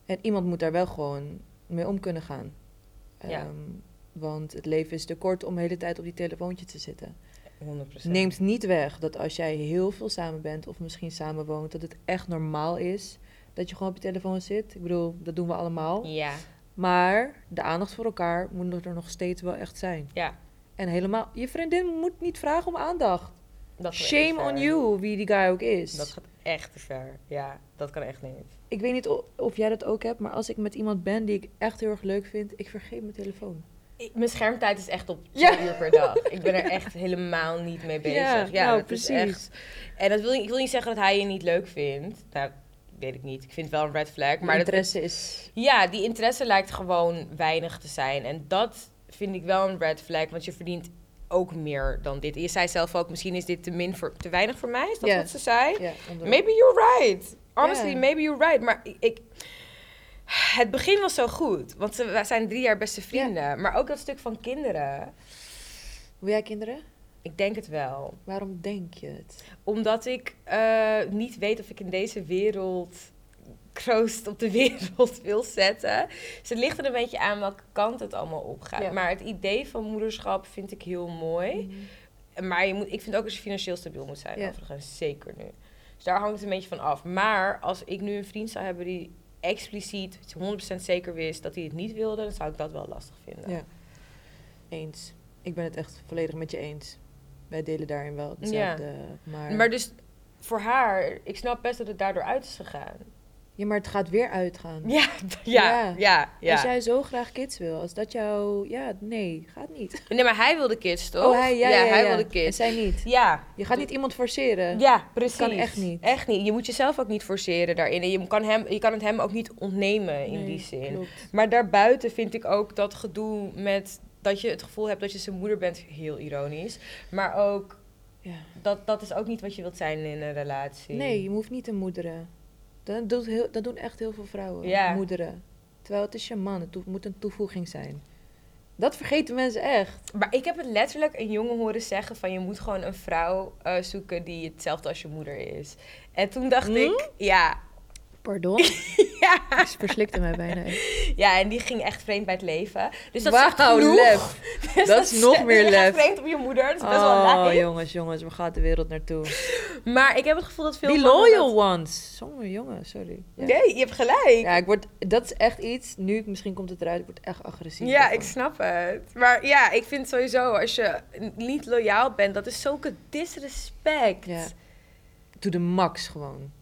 Speaker 2: En iemand moet daar wel gewoon mee om kunnen gaan.
Speaker 1: Ja.
Speaker 2: Ehm, Want het leven is te kort om de hele tijd op die telefoontje te zitten.
Speaker 1: 100%.
Speaker 2: Neemt niet weg dat als jij heel veel samen bent of misschien samen woont, dat het echt normaal is dat je gewoon op je telefoon zit. Ik bedoel, dat doen we allemaal.
Speaker 1: Ja.
Speaker 2: Maar de aandacht voor elkaar moet er nog steeds wel echt zijn.
Speaker 1: Ja.
Speaker 2: En helemaal, je vriendin moet niet vragen om
Speaker 1: Dat
Speaker 2: aandacht.
Speaker 1: eh, gaat echt
Speaker 2: Shame
Speaker 1: ver.
Speaker 2: on you, wie die guy ook is.
Speaker 1: Dat gaat echt te ver. Ja, dat kan echt niet.
Speaker 2: Ik weet niet o- of jij dat ook hebt, maar als ik met iemand ben die ik echt heel erg leuk vind, ik vergeet mijn telefoon.
Speaker 1: Ik- mijn schermtijd is echt op twee
Speaker 2: Ja.
Speaker 1: uur per dag. Ik ben er echt helemaal niet mee bezig.
Speaker 2: Ja,
Speaker 1: Ja,
Speaker 2: nou,
Speaker 1: dat
Speaker 2: precies.
Speaker 1: Is echt... En dat wil, niet- ik wil niet zeggen dat hij je niet leuk vindt. Nou, weet ik niet. Ik vind het wel een red flag.
Speaker 2: Maar
Speaker 1: Maar dat,
Speaker 2: interesse is.
Speaker 1: ja, die interesse lijkt gewoon weinig te zijn. En dat vind ik wel een red flag, want je verdient ook meer dan dit. Je zei zelf ook, misschien is dit te, min voor, te weinig voor mij. Is dat
Speaker 2: Ja.
Speaker 1: wat ze zei?
Speaker 2: Ja, onder-
Speaker 1: Maybe you're right. Honestly,
Speaker 2: Ja.
Speaker 1: maybe you're right. Maar ik, ik- Het begin was zo goed. Want ze we zijn drie jaar beste vrienden. Maar ook dat stuk van kinderen.
Speaker 2: Wil jij kinderen?
Speaker 1: Ik denk het wel.
Speaker 2: Waarom denk je het?
Speaker 1: Omdat ik eh, niet weet of ik in deze wereld... kroost op de wereld wil zetten. Ze ligt er een beetje aan welke kant het allemaal op gaat.
Speaker 2: Ja.
Speaker 1: Maar het idee van moederschap vind ik heel mooi.
Speaker 2: Mm.
Speaker 1: Maar je moet, ik vind ook dat je financieel stabiel moet zijn,
Speaker 2: Ja.
Speaker 1: overigens. Zeker nu. Dus daar hangt het een beetje van af. Maar als ik nu een vriend zou hebben die expliciet 100% zeker wist dat hij het niet wilde, dan zou ik dat wel lastig vinden.
Speaker 2: Ja. Eens. Ik ben het echt volledig met je eens. Wij delen daarin wel
Speaker 1: Ja.
Speaker 2: hetzelfde. Maar,
Speaker 1: Maar dus voor haar, ik snap best dat het daardoor uit is gegaan.
Speaker 2: ja, maar het gaat weer uitgaan.
Speaker 1: Ja, ja,
Speaker 2: Ja.
Speaker 1: ja. ja,
Speaker 2: Als jij zo graag kids wil, als dat jouw... Ja, nee, gaat niet.
Speaker 1: Nee, maar hij wilde kids, toch?
Speaker 2: Oh, hij, ja, ja,
Speaker 1: Oh, hij
Speaker 2: ja.
Speaker 1: wilde
Speaker 2: En
Speaker 1: kids.
Speaker 2: zij niet.
Speaker 1: Ja,
Speaker 2: Je gaat niet iemand forceren.
Speaker 1: Ja, precies.
Speaker 2: kan echt niet.
Speaker 1: Echt niet. Je moet jezelf ook niet forceren daarin. En je kan, hem, je kan het hem ook niet ontnemen in
Speaker 2: Nee,
Speaker 1: die zin.
Speaker 2: klopt.
Speaker 1: Maar daarbuiten vind ik ook dat gedoe met dat je het gevoel hebt dat je zijn moeder bent heel ironisch. Maar ook
Speaker 2: Ja.
Speaker 1: dat, dat is ook niet wat je wilt zijn in een relatie.
Speaker 2: Nee, je hoeft niet te moederen. Dat, doet heel, dat doen echt heel veel vrouwen.
Speaker 1: Ja.
Speaker 2: Moederen. Terwijl het is je man, het toe- moet een toevoeging zijn. Dat vergeten mensen echt.
Speaker 1: Maar ik heb het letterlijk een jongen horen zeggen van je moet gewoon een vrouw eh, zoeken die hetzelfde als je moeder is. En toen dacht
Speaker 2: Hm?
Speaker 1: ik, ja,
Speaker 2: Pardon?
Speaker 1: ja.
Speaker 2: Ze verslikte mij bijna. echt.
Speaker 1: Ja, en die ging echt vreemd bij het leven. Dus dat is
Speaker 2: Wauw,
Speaker 1: echt genoeg.
Speaker 2: lef.
Speaker 1: Dus
Speaker 2: Dat is nog
Speaker 1: dus
Speaker 2: meer
Speaker 1: je gaat
Speaker 2: lef.
Speaker 1: vreemd op je moeder, dat is best wel
Speaker 2: Oh,
Speaker 1: lijp.
Speaker 2: jongens, jongens, waar gaat de wereld naartoe?
Speaker 1: Maar ik heb het gevoel dat veel
Speaker 2: Die
Speaker 1: mannen
Speaker 2: loyal
Speaker 1: dat-
Speaker 2: ones. Sommige jongen, sorry. Ja.
Speaker 1: Nee, je hebt gelijk.
Speaker 2: Ja, ik word, dat is echt iets. Nu, ik- misschien komt het eruit, ik word echt agressief.
Speaker 1: Ja,
Speaker 2: daarvan.
Speaker 1: ik snap het. Maar ja, ik vind sowieso, als je niet loyaal bent, dat is zulke disrespect.
Speaker 2: Ja. Doe de max gewoon.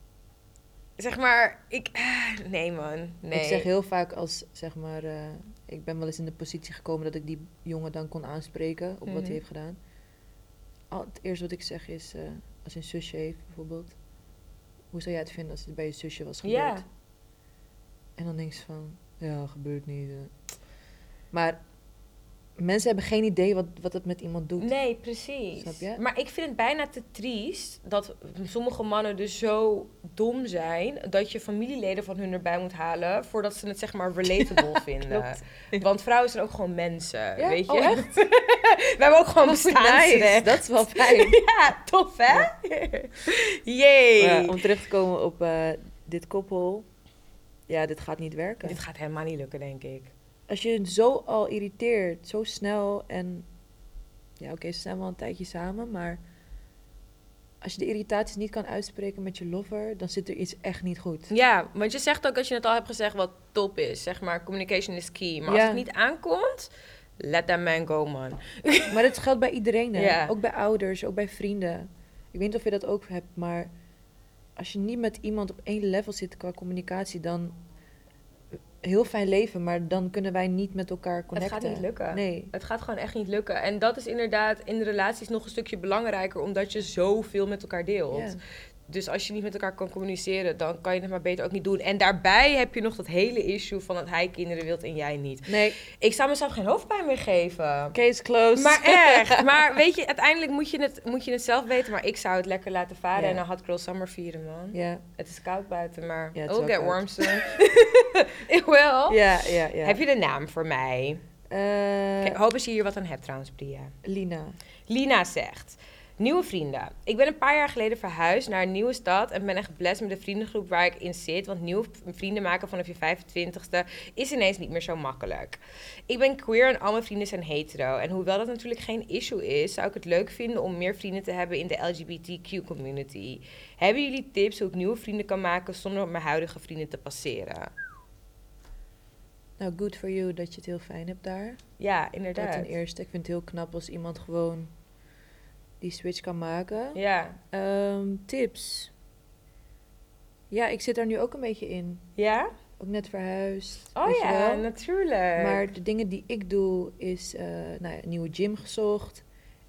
Speaker 1: Zeg maar, ik... ah, Nee, man. Nee.
Speaker 2: Ik zeg heel vaak als, zeg maar, eh, ik ben wel eens in de positie gekomen dat ik die jongen dan kon aanspreken op wat
Speaker 1: Mhm.
Speaker 2: hij heeft gedaan. Al, het eerste wat ik zeg is, eh, als je een zusje heeft bijvoorbeeld, hoe zou jij het vinden als het bij je zusje was gebeurd?
Speaker 1: Ja.
Speaker 2: En dan denk je van, ja, gebeurt niet. eh. Maar mensen hebben geen idee wat, wat het met iemand doet.
Speaker 1: Nee, precies.
Speaker 2: Snap je?
Speaker 1: Maar ik vind het bijna te triest dat sommige mannen dus zo dom zijn dat je familieleden van hun erbij moet halen voordat ze het zeg maar relatable vinden.
Speaker 2: klopt.
Speaker 1: Want vrouwen zijn ook gewoon mensen,
Speaker 2: Ja?
Speaker 1: weet je?
Speaker 2: Oh, echt?
Speaker 1: We hebben ook gewoon
Speaker 2: Dat is
Speaker 1: bestaansrecht.
Speaker 2: nice. Dat is wel fijn.
Speaker 1: Ja, tof hè? Jee.
Speaker 2: Maar om terug te komen op eh, dit koppel. Ja, dit gaat niet werken.
Speaker 1: Dit gaat helemaal niet lukken, denk ik.
Speaker 2: als je zo al irriteert, zo snel en ja, oké, ze zijn wel een tijdje samen, maar als je de irritaties niet kan uitspreken met je lover, dan zit er iets echt niet goed.
Speaker 1: Ja, want je zegt ook als je het al hebt gezegd wat top is. Zeg maar, communication is key. Maar
Speaker 2: Ja.
Speaker 1: als het niet aankomt, Let that man go, man.
Speaker 2: Maar dat geldt bij iedereen, hè?
Speaker 1: Ja.
Speaker 2: ook bij ouders, ook bij vrienden. Ik weet niet of je dat ook hebt, maar als je niet met iemand op één level zit qua communicatie, dan eh, heel fijn leven, maar dan kunnen wij niet met elkaar
Speaker 1: Het
Speaker 2: connecten.
Speaker 1: gaat niet lukken.
Speaker 2: Nee.
Speaker 1: Het gaat gewoon echt niet lukken. En dat is inderdaad in de relaties nog een stukje belangrijker, omdat je zoveel met elkaar deelt.
Speaker 2: Ja.
Speaker 1: Dus als je niet met elkaar kan communiceren, dan kan je het maar beter ook niet doen. En daarbij heb je nog dat hele issue van dat hij kinderen wilt en jij niet.
Speaker 2: Nee,
Speaker 1: Ik zou mezelf geen hoofdpijn meer geven.
Speaker 2: case closed.
Speaker 1: Maar echt. Maar weet je, uiteindelijk moet je, het, moet je het zelf weten. Maar ik zou het lekker laten varen
Speaker 2: Ja.
Speaker 1: en dan had Girl Summer vieren, man.
Speaker 2: Ja,
Speaker 1: Het is koud buiten, maar
Speaker 2: Ja, het is
Speaker 1: it'll
Speaker 2: wel
Speaker 1: get
Speaker 2: koud.
Speaker 1: warm soon. It will.
Speaker 2: ja, ja. ja.
Speaker 1: Oh. Heb je de naam voor mij?
Speaker 2: Eh,
Speaker 1: Ik hoop dat je hier wat aan hebt trouwens, Priya.
Speaker 2: Lina.
Speaker 1: Lina zegt... Nieuwe vrienden. Ik ben een paar jaar geleden verhuisd naar een nieuwe stad en ben echt blessed met de vriendengroep waar ik in zit. Want nieuwe v- vrienden maken vanaf je 25ste is ineens niet meer zo makkelijk. Ik ben queer en al mijn vrienden zijn hetero. En hoewel dat natuurlijk geen issue is, zou ik het leuk vinden om meer vrienden te hebben in de LGBTQ community. Hebben jullie tips hoe ik nieuwe vrienden kan maken zonder mijn huidige vrienden te passeren?
Speaker 2: Nou, good for you dat je het heel fijn hebt daar.
Speaker 1: Ja,
Speaker 2: Dat ten
Speaker 1: inderdaad.
Speaker 2: eerste. Ik vind het heel knap als iemand gewoon die switch kan maken.
Speaker 1: Ja.
Speaker 2: Ehm, tips. Ja, ik zit daar nu ook een beetje in.
Speaker 1: Ja?
Speaker 2: Ook net verhuisd.
Speaker 1: Oh
Speaker 2: weet je
Speaker 1: ja,
Speaker 2: wel.
Speaker 1: natuurlijk.
Speaker 2: Maar de dingen die ik doe is eh, nou ja, een nieuwe gym gezocht.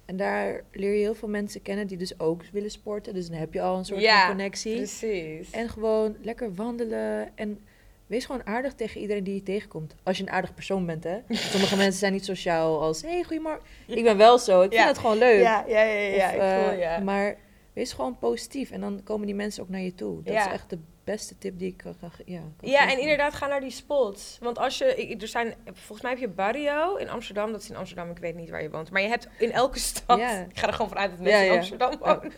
Speaker 2: En daar leer je heel veel mensen kennen die dus ook willen sporten. Dus dan heb je al een soort
Speaker 1: Ja, Dus-
Speaker 2: van connectie.
Speaker 1: Precies.
Speaker 2: En gewoon lekker wandelen. En wees gewoon aardig tegen iedereen die je tegenkomt. Als je een aardig persoon bent, hè. Sommige mensen zijn niet sociaal als... hey, goedemorgen. Ik ben wel zo. Ik
Speaker 1: Ja.
Speaker 2: vind het gewoon leuk.
Speaker 1: Ja, ja, ja, ja,
Speaker 2: Of,
Speaker 1: ik voel
Speaker 2: eh,
Speaker 1: ja.
Speaker 2: Maar wees gewoon positief. En dan komen die mensen ook naar je toe. Dat
Speaker 1: Ja.
Speaker 2: is echt de beste tip die ik kan, kan ge- ja, kan
Speaker 1: Ja,
Speaker 2: geven.
Speaker 1: en inderdaad, ga naar die spots. Want als je, ik- er zijn, volgens mij heb je Barrio in Amsterdam. Dat is in Amsterdam, ik weet niet waar je woont. Maar je hebt in elke stad,
Speaker 2: Ja.
Speaker 1: ik ga er gewoon vanuit dat mensen
Speaker 2: Ja,
Speaker 1: in
Speaker 2: ja.
Speaker 1: Amsterdam wonen.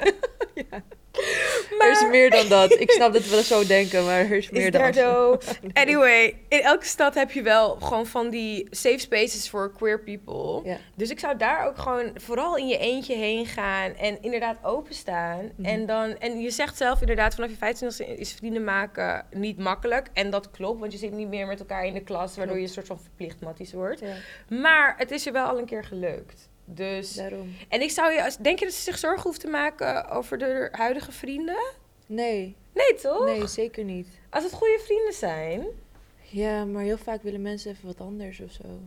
Speaker 2: Er is meer dan dat. Ik snap dat we dat zo denken, maar er is meer
Speaker 1: Is
Speaker 2: dan
Speaker 1: daar zo. Anyway, in elke stad heb je wel gewoon van die safe spaces voor queer people.
Speaker 2: Ja.
Speaker 1: Dus ik zou daar ook gewoon vooral in je eentje heen gaan en inderdaad openstaan. En, dan, en je zegt zelf inderdaad, vanaf je 25 is vrienden maken niet makkelijk. En dat klopt, want je zit niet meer met elkaar in de klas, waardoor je een soort van verplicht matties wordt.
Speaker 2: Ja,
Speaker 1: Maar het is je wel al een keer gelukt. Dus,
Speaker 2: daarom.
Speaker 1: en ik zou je, als- denk je dat ze zich zorgen hoeft te maken over de huidige vrienden?
Speaker 2: Nee,
Speaker 1: Nee, toch?
Speaker 2: nee, zeker niet.
Speaker 1: Als het goede vrienden zijn.
Speaker 2: Ja, maar heel vaak willen mensen even wat anders of zo.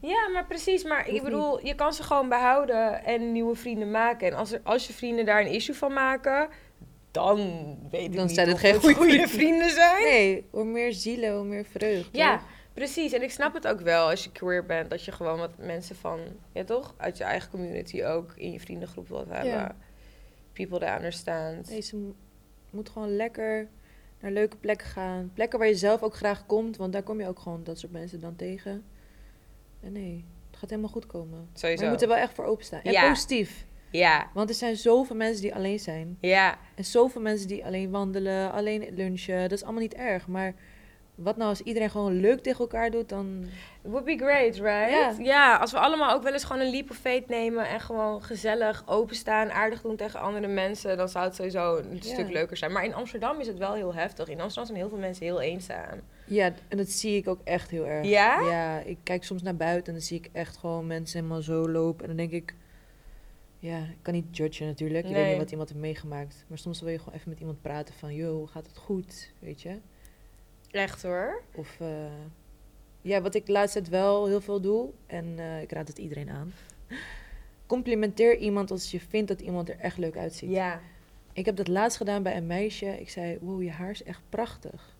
Speaker 1: Ja, maar precies. Maar ik
Speaker 2: Hoeft
Speaker 1: bedoel, je kan ze gewoon behouden en nieuwe vrienden maken. En als, er, als je vrienden daar een issue van maken, dan weet ik
Speaker 2: Dan
Speaker 1: niet
Speaker 2: zijn het
Speaker 1: of
Speaker 2: geen goede
Speaker 1: goede
Speaker 2: vrienden.
Speaker 1: vrienden zijn.
Speaker 2: Nee, hoe meer zielen, hoe meer vreugd.
Speaker 1: Ja,
Speaker 2: hoor.
Speaker 1: precies. En ik snap het ook wel als je queer bent, dat je gewoon wat mensen van, ja toch, uit je eigen community ook in je vriendengroep wilt hebben.
Speaker 2: Ja.
Speaker 1: People that understand.
Speaker 2: Nee, ze mo- moet gewoon lekker naar leuke plekken gaan. Plekken waar je zelf ook graag komt, want daar kom je ook gewoon dat soort mensen dan tegen. En nee, het gaat helemaal goed komen. Maar
Speaker 1: Sowieso.
Speaker 2: je moet er wel echt voor openstaan. En
Speaker 1: Ja.
Speaker 2: positief.
Speaker 1: Ja,
Speaker 2: Want er zijn zoveel mensen die alleen zijn.
Speaker 1: ja,
Speaker 2: En zoveel mensen die alleen wandelen, alleen lunchen. Dat is allemaal niet erg. Maar wat nou als iedereen gewoon leuk tegen elkaar doet, dan...
Speaker 1: It would be great, right?
Speaker 2: Ja.
Speaker 1: Ja, als we allemaal ook wel eens gewoon een leap of faith nemen en gewoon gezellig openstaan, aardig doen tegen andere mensen, dan zou het sowieso een
Speaker 2: Ja.
Speaker 1: stuk leuker zijn. Maar in Amsterdam is het wel heel heftig. In Amsterdam zijn heel veel mensen heel eenzaam.
Speaker 2: Ja, en dat zie ik ook echt heel erg.
Speaker 1: Ja?
Speaker 2: Ja, ik kijk soms naar buiten en dan zie ik echt gewoon mensen helemaal zo lopen. En dan denk ik... Ja, ik kan niet judgen natuurlijk. Ik weet
Speaker 1: Nee.
Speaker 2: niet wat iemand heeft meegemaakt. Maar soms wil je gewoon even met iemand praten van... Yo, gaat het goed? Weet je?
Speaker 1: Echt hoor.
Speaker 2: Of... eh, ja, wat ik laatst tijd wel heel veel doe... En eh, ik raad het iedereen aan. Complimenteer iemand als je vindt dat iemand er echt leuk uitziet.
Speaker 1: Ja.
Speaker 2: Ik heb dat laatst gedaan bij een meisje. Ik zei, wow, je haar is echt prachtig.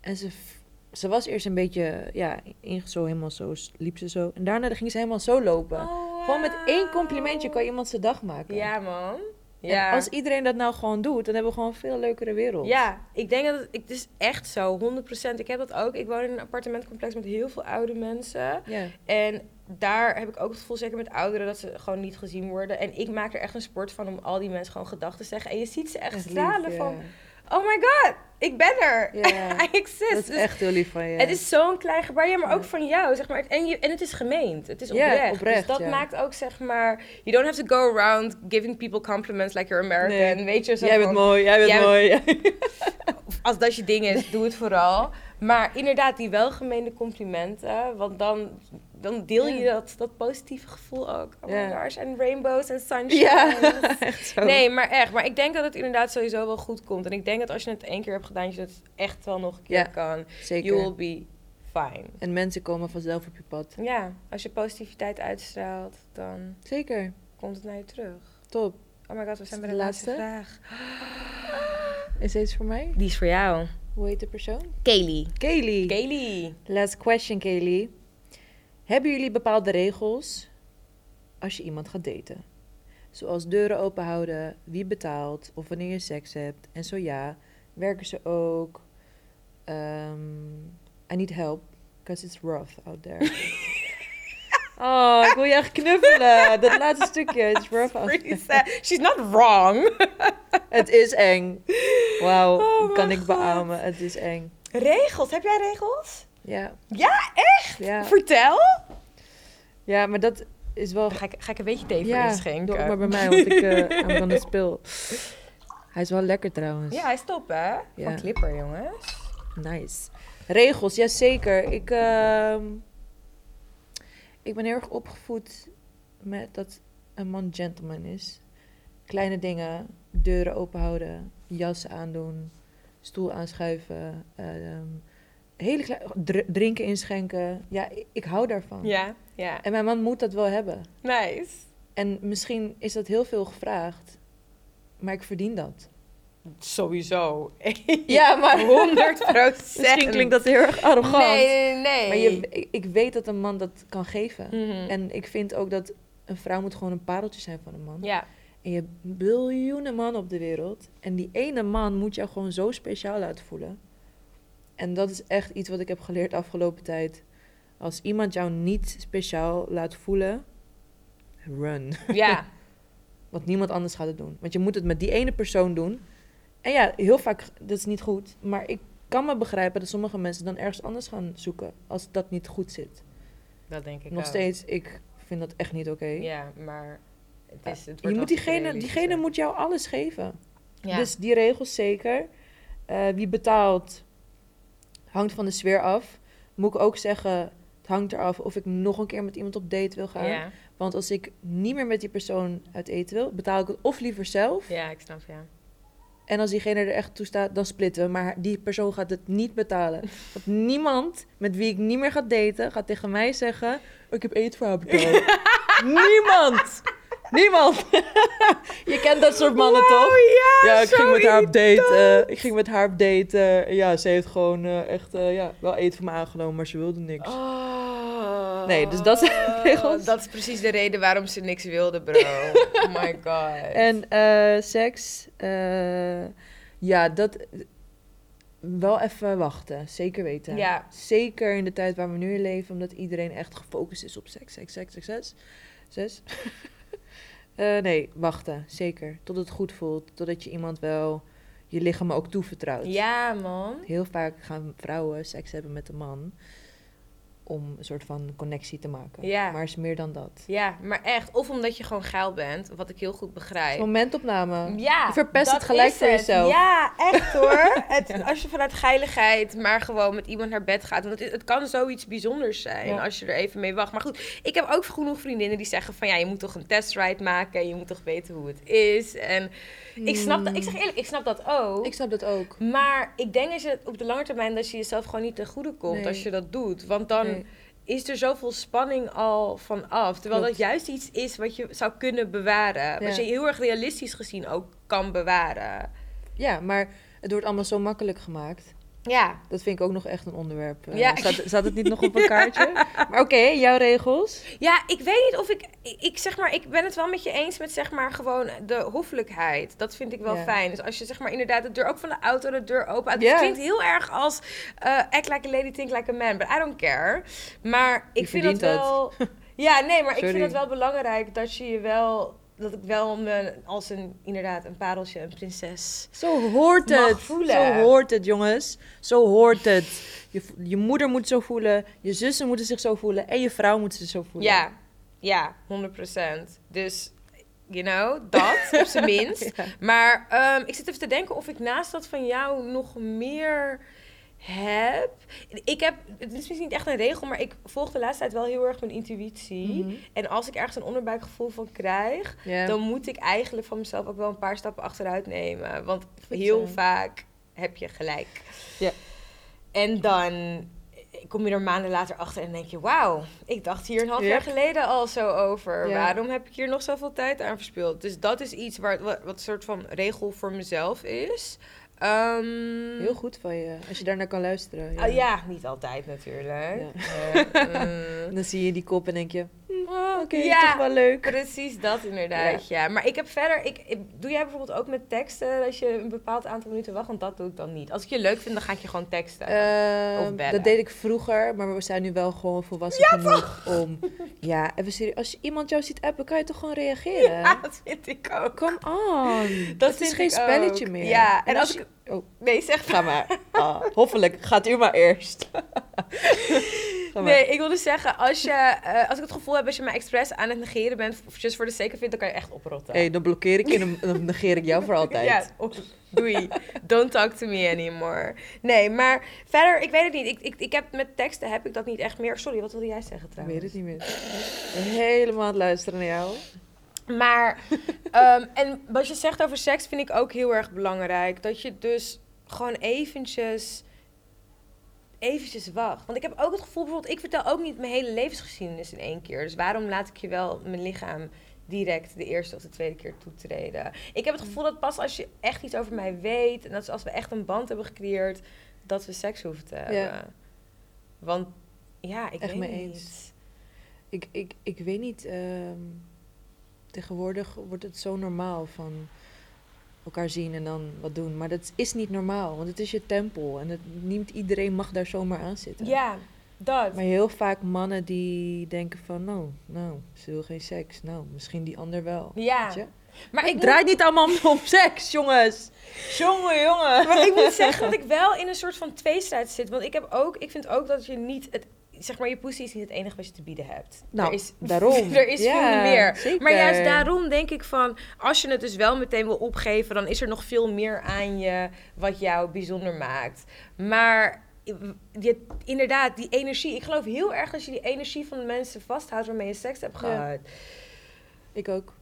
Speaker 2: En ze, f- ze was eerst een beetje, ja, in, zo helemaal zo, s- liep ze zo. En daarna ging ze helemaal zo lopen. Gewoon met één complimentje kan iemand zijn dag maken.
Speaker 1: Oh, Ja, man.
Speaker 2: En
Speaker 1: Ja.
Speaker 2: als iedereen dat nou gewoon doet, dan hebben we gewoon een veel leukere wereld.
Speaker 1: Ja, ik denk dat het, ik, het is echt zo, 100%. Ik heb dat ook. Ik woon in een appartementcomplex met heel veel oude mensen.
Speaker 2: Ja.
Speaker 1: En daar heb ik ook het gevoel, zeker met ouderen, dat ze gewoon niet gezien worden. En ik maak er echt een sport van om al die mensen gewoon gedachten te zeggen. En je ziet ze echt
Speaker 2: Echt lief,
Speaker 1: stralen
Speaker 2: ja.
Speaker 1: van, oh my god, ik ben er.
Speaker 2: Ja.
Speaker 1: I exist.
Speaker 2: Dat is
Speaker 1: Dus
Speaker 2: echt heel lief van je.
Speaker 1: Het is zo'n klein gebaar, ja, maar ook
Speaker 2: Ja.
Speaker 1: van jou, zeg maar. En, je, en het is gemeend, het is
Speaker 2: Ja,
Speaker 1: oprecht. dus
Speaker 2: oprecht,
Speaker 1: dat
Speaker 2: ja.
Speaker 1: maakt ook, zeg maar, you don't have to go around giving people compliments like you're American,
Speaker 2: Nee.
Speaker 1: weet je. Zo
Speaker 2: Jij bent
Speaker 1: van,
Speaker 2: mooi, jij bent
Speaker 1: Jij bent-
Speaker 2: mooi.
Speaker 1: als dat je ding is, doe het vooral. Maar inderdaad, die welgemeende complimenten. Want dan, dan deel je
Speaker 2: Ja.
Speaker 1: dat, dat positieve gevoel ook. Oh
Speaker 2: Ja.
Speaker 1: my gosh, en rainbows en sunshine.
Speaker 2: Ja, echt zo.
Speaker 1: Nee, maar echt. Maar ik denk dat het inderdaad sowieso wel goed komt. En ik denk dat als je het één keer hebt gedaan, dat je het echt wel nog een keer
Speaker 2: Ja,
Speaker 1: kan.
Speaker 2: Zeker.
Speaker 1: You will be fine.
Speaker 2: En mensen komen vanzelf op je pad.
Speaker 1: Ja, als je positiviteit uitstraalt, dan
Speaker 2: Zeker.
Speaker 1: komt het naar je terug.
Speaker 2: Top.
Speaker 1: Oh my god, we zijn
Speaker 2: de
Speaker 1: bij de laatste
Speaker 2: laatste?
Speaker 1: vraag.
Speaker 2: Is deze voor mij?
Speaker 1: Die is voor jou.
Speaker 2: Hoe heet de persoon?
Speaker 1: Kaylee.
Speaker 2: Kaylee.
Speaker 1: Kaylee.
Speaker 2: Last question, Kaylee. Hebben jullie bepaalde regels als je iemand gaat daten? Zoals deuren open houden, wie betaalt of wanneer je seks hebt. En zo ja, werken ze ook. Ehm, I need help, because it's rough out there. oh, ik wil je echt knuffelen. Dat laatste stukje, it's rough out
Speaker 1: Pretty
Speaker 2: there.
Speaker 1: sad. She's not wrong.
Speaker 2: Het is eng. Wauw,
Speaker 1: Oh,
Speaker 2: kan
Speaker 1: mijn
Speaker 2: ik beamen. Het is eng.
Speaker 1: Regels. Heb jij regels?
Speaker 2: Ja,
Speaker 1: Ja, echt?
Speaker 2: ja.
Speaker 1: Vertel.
Speaker 2: ja, maar dat is wel
Speaker 1: Ga ik, ga ik een beetje thee voor
Speaker 2: Ja,
Speaker 1: je schenken.
Speaker 2: doe het maar bij mij, want ik eh I'm gonna spill. Hij is wel lekker trouwens.
Speaker 1: Ja, hij is top, hè?
Speaker 2: Ja.
Speaker 1: Van Clipper, jongens.
Speaker 2: Nice. Regels, jazeker. Ik, ehm, ik ben heel erg opgevoed met dat een man gentleman is. Kleine dingen, deuren open houden, jassen aandoen, stoel aanschuiven, ehm, hele kleine, dr- drinken inschenken. Ja, ik, ik hou daarvan.
Speaker 1: Ja, ja.
Speaker 2: En mijn man moet dat wel hebben.
Speaker 1: Nice.
Speaker 2: En misschien is dat heel veel gevraagd, maar ik verdien dat.
Speaker 1: Sowieso.
Speaker 2: Ja, maar
Speaker 1: 100 procent.
Speaker 2: misschien klinkt dat heel erg arrogant.
Speaker 1: Nee, nee, nee.
Speaker 2: Maar je, ik- ik weet dat een man dat kan geven.
Speaker 1: Mhm.
Speaker 2: En ik vind ook dat een vrouw moet gewoon een pareltje zijn van een man.
Speaker 1: Ja,
Speaker 2: En je hebt biljoenen mannen op de wereld. En die ene man moet jou gewoon zo speciaal laten voelen. En dat is echt iets wat ik heb geleerd de afgelopen tijd. Als iemand jou niet speciaal laat voelen, run.
Speaker 1: ja.
Speaker 2: Want niemand anders gaat het doen. Want je moet het met die ene persoon doen. En ja, heel vaak, dat is niet goed. Maar ik kan me begrijpen dat sommige mensen dan ergens anders gaan zoeken. Als dat niet goed zit.
Speaker 1: Dat denk ik
Speaker 2: Nog
Speaker 1: ook.
Speaker 2: steeds, ik vind dat echt niet oké.
Speaker 1: Ja, maar het is, het wordt
Speaker 2: je
Speaker 1: wel
Speaker 2: moet diegene,
Speaker 1: gerealiseerd.
Speaker 2: diegene moet jou alles geven.
Speaker 1: Ja.
Speaker 2: Dus die regels zeker. Eh, wie betaalt, hangt van de sfeer af. Moet ik ook zeggen, het hangt eraf of ik nog een keer met iemand op date wil gaan.
Speaker 1: ja.
Speaker 2: Want als ik niet meer met die persoon uit eten wil, betaal ik het of liever zelf.
Speaker 1: ja, ik snap, ja.
Speaker 2: En als diegene er echt toe staat, dan splitten we. Maar die persoon gaat het niet betalen. Want niemand met wie ik niet meer ga daten, gaat tegen mij zeggen... Ik heb eten voor haar betaald. niemand! Niemand! je kent dat soort mannen
Speaker 1: Wow,
Speaker 2: toch?
Speaker 1: Ja,
Speaker 2: Ja, ik
Speaker 1: zo
Speaker 2: ging met haar op date.
Speaker 1: irritant.
Speaker 2: eh, ik ging met haar op date. eh, ja, ze heeft gewoon eh, echt eh, ja, wel eten van me aangenomen, maar ze wilde niks.
Speaker 1: Oh.
Speaker 2: Nee, dus dat zijn de regels.
Speaker 1: Dat is precies de reden waarom ze niks wilde, bro. oh my god.
Speaker 2: En eh, seks, eh, ja, dat wel even wachten, zeker weten.
Speaker 1: Ja.
Speaker 2: Zeker in de tijd waar we nu in leven, omdat iedereen echt gefocust is op seks, seks, seks, seks, seks. Zes. Eh, nee, wachten, zeker. Tot het goed voelt, totdat je iemand wel je lichaam ook toevertrouwt.
Speaker 1: Ja, man.
Speaker 2: Heel vaak gaan vrouwen seks hebben met een man om een soort van connectie te maken.
Speaker 1: Ja.
Speaker 2: Maar het is meer dan dat.
Speaker 1: Ja, maar echt. Of omdat je gewoon geil bent, wat ik heel goed
Speaker 2: Het
Speaker 1: begrijp.
Speaker 2: is momentopname.
Speaker 1: Ja,
Speaker 2: Je verpest
Speaker 1: dat
Speaker 2: het gelijk
Speaker 1: is
Speaker 2: voor
Speaker 1: het.
Speaker 2: jezelf.
Speaker 1: Ja, echt hoor. Het, als je vanuit geiligheid maar gewoon met iemand naar bed gaat. Want het, het kan zoiets bijzonders zijn
Speaker 2: Ja.
Speaker 1: als je er even mee wacht. Maar goed, ik heb ook genoeg vriendinnen die zeggen van... ja, je moet toch een testride maken en je moet toch weten hoe het is. En ik snap dat, ik zeg eerlijk, ik snap dat ook.
Speaker 2: Ik snap dat ook.
Speaker 1: Maar ik denk dat je op de lange termijn dat je jezelf gewoon niet ten goede komt
Speaker 2: Nee.
Speaker 1: als je dat doet. Want dan
Speaker 2: Nee.
Speaker 1: is er zoveel spanning al vanaf. Terwijl
Speaker 2: Klopt.
Speaker 1: dat juist iets is wat je zou kunnen bewaren. Wat
Speaker 2: Ja.
Speaker 1: je heel erg realistisch gezien ook kan bewaren.
Speaker 2: Ja, maar het wordt allemaal zo makkelijk gemaakt.
Speaker 1: Ja.
Speaker 2: Dat vind ik ook nog echt een onderwerp. Eh,
Speaker 1: Ja.
Speaker 2: Staat, staat het niet nog op een kaartje? Maar oké, jouw regels.
Speaker 1: ja, ik weet niet of ik, ik... ik zeg maar, ik ben het wel met je eens met zeg maar gewoon de hoffelijkheid. Dat vind ik wel
Speaker 2: Ja.
Speaker 1: fijn. Dus als je zeg maar inderdaad de deur ook van de auto, de deur open... Het
Speaker 2: Ja.
Speaker 1: klinkt heel erg als eh, act like a lady, think like a man. But I don't care. Maar
Speaker 2: Je
Speaker 1: ik vind dat
Speaker 2: verdient dat.
Speaker 1: wel... Ja, nee, maar ik
Speaker 2: Sorry.
Speaker 1: vind het wel belangrijk dat je je wel... Dat ik wel me als een, inderdaad, een pareltje, een prinses...
Speaker 2: Zo hoort
Speaker 1: Mag
Speaker 2: het.
Speaker 1: voelen.
Speaker 2: Zo hoort het, jongens. Zo hoort het. Je, v- je moeder moet zo voelen. Je zussen moeten zich zo voelen. En je vrouw moet zich zo voelen.
Speaker 1: Ja, ja, 100%. Dus You know, dat op zijn minst.
Speaker 2: Ja.
Speaker 1: Maar ehm, ik zit even te denken of ik naast dat van jou nog meer heb. Ik heb, het is misschien niet echt een regel, maar ik volg de laatste tijd wel heel erg mijn intuïtie.
Speaker 2: Mhm.
Speaker 1: En als ik ergens een onderbuikgevoel van krijg,
Speaker 2: Ja.
Speaker 1: dan moet ik eigenlijk van mezelf ook wel een paar stappen achteruit nemen. Want
Speaker 2: Goed
Speaker 1: heel
Speaker 2: zo.
Speaker 1: vaak heb je gelijk.
Speaker 2: Ja.
Speaker 1: En dan kom je er maanden later achter en denk je, wauw, ik dacht hier een half
Speaker 2: Yep.
Speaker 1: jaar geleden al zo over.
Speaker 2: Ja.
Speaker 1: Waarom heb ik hier nog zoveel tijd aan verspild? Dus dat is iets waar, wat wat een soort van regel voor mezelf is. Ehm,
Speaker 2: Heel goed van je, als je daarnaar kan luisteren.
Speaker 1: ah, ja, niet altijd natuurlijk. Eh, mm.
Speaker 2: Dan zie je die kop en denk je, "Mm,
Speaker 1: Oh,
Speaker 2: oké,
Speaker 1: ja.
Speaker 2: toch wel leuk.
Speaker 1: Precies dat inderdaad, ja. Maar ik heb verder... Ik, ik- doe jij bijvoorbeeld ook met teksten dat je een bepaald aantal minuten wacht? Want dat doe ik dan niet. Als ik je leuk vind, dan ga ik je gewoon teksten.
Speaker 2: Ehm,
Speaker 1: Of bellen.
Speaker 2: dat deed ik vroeger, maar we zijn nu wel gewoon volwassen genoeg om... Ja, even serieus. Als je iemand jou ziet appen, kan je toch gewoon reageren?
Speaker 1: ja, dat vind ik ook.
Speaker 2: Come on.
Speaker 1: Dat
Speaker 2: het is
Speaker 1: vind
Speaker 2: geen
Speaker 1: ik
Speaker 2: spelletje
Speaker 1: ook.
Speaker 2: meer.
Speaker 1: Ja, en als ik...
Speaker 2: je- oh.
Speaker 1: Nee, zeg
Speaker 2: Ga maar. Ah, hoffelijk, gaat u maar eerst. Ga maar.
Speaker 1: Nee, ik wilde zeggen, als, je, eh, als ik het gevoel heb dat je mij expres aan het negeren bent, of just voor de zeker vindt, dan kan je echt oprotten.
Speaker 2: hey, dan blokkeer ik je en dan- dan negeer ik jou voor altijd.
Speaker 1: Ja, of- doei. Don't talk to me anymore. Nee, maar verder, ik weet het niet. Ik, ik, ik heb, met teksten heb ik dat niet echt meer. Sorry, wat wilde jij zeggen
Speaker 2: Ik
Speaker 1: trouwens?
Speaker 2: weet het niet meer. Helemaal aan het luisteren naar jou.
Speaker 1: Maar, ehm, en wat je zegt over seks vind ik ook heel erg belangrijk. Dat je dus gewoon eventjes, eventjes wacht. Want ik heb ook het gevoel, bijvoorbeeld, ik vertel ook niet mijn hele levensgeschiedenis in één keer. Dus waarom laat ik je wel mijn lichaam direct de eerste of de tweede keer toetreden? Ik heb het gevoel dat pas als je echt iets over mij weet... en dat is als we echt een band hebben gecreëerd, dat we seks hoeven te hebben. Want, ja, ik
Speaker 2: Echt
Speaker 1: weet
Speaker 2: mee
Speaker 1: niet.
Speaker 2: eens. Ik, ik, ik weet niet. ehm, tegenwoordig wordt het zo normaal van elkaar zien en dan wat doen. Maar dat is niet normaal, want het is je tempel. En het, niet iedereen mag daar zomaar aan zitten.
Speaker 1: Ja, dat.
Speaker 2: Maar heel vaak mannen die denken van, nou, nou, ze wil geen seks. Nou, misschien die ander wel.
Speaker 1: Ja.
Speaker 2: Weet je?
Speaker 1: Maar
Speaker 2: Het
Speaker 1: ik
Speaker 2: draait niet allemaal om, om seks, jongens. Jongen, jongen.
Speaker 1: Maar ik moet zeggen dat ik wel in een soort van tweestrijd zit. Want ik, heb ook, ik vind ook dat je niet... Het, zeg maar, je pussy is niet het enige wat je te bieden hebt.
Speaker 2: Nou,
Speaker 1: er is,
Speaker 2: daarom.
Speaker 1: er is
Speaker 2: Ja,
Speaker 1: veel meer.
Speaker 2: zeker.
Speaker 1: Maar juist daarom denk ik van... Als je het dus wel meteen wil opgeven... dan is er nog veel meer aan je wat jou bijzonder maakt. Maar... Je, inderdaad, die energie. Ik geloof heel erg dat je die energie van de mensen vasthoudt waarmee je seks hebt
Speaker 2: Ja.
Speaker 1: gehad.
Speaker 2: Ik ook.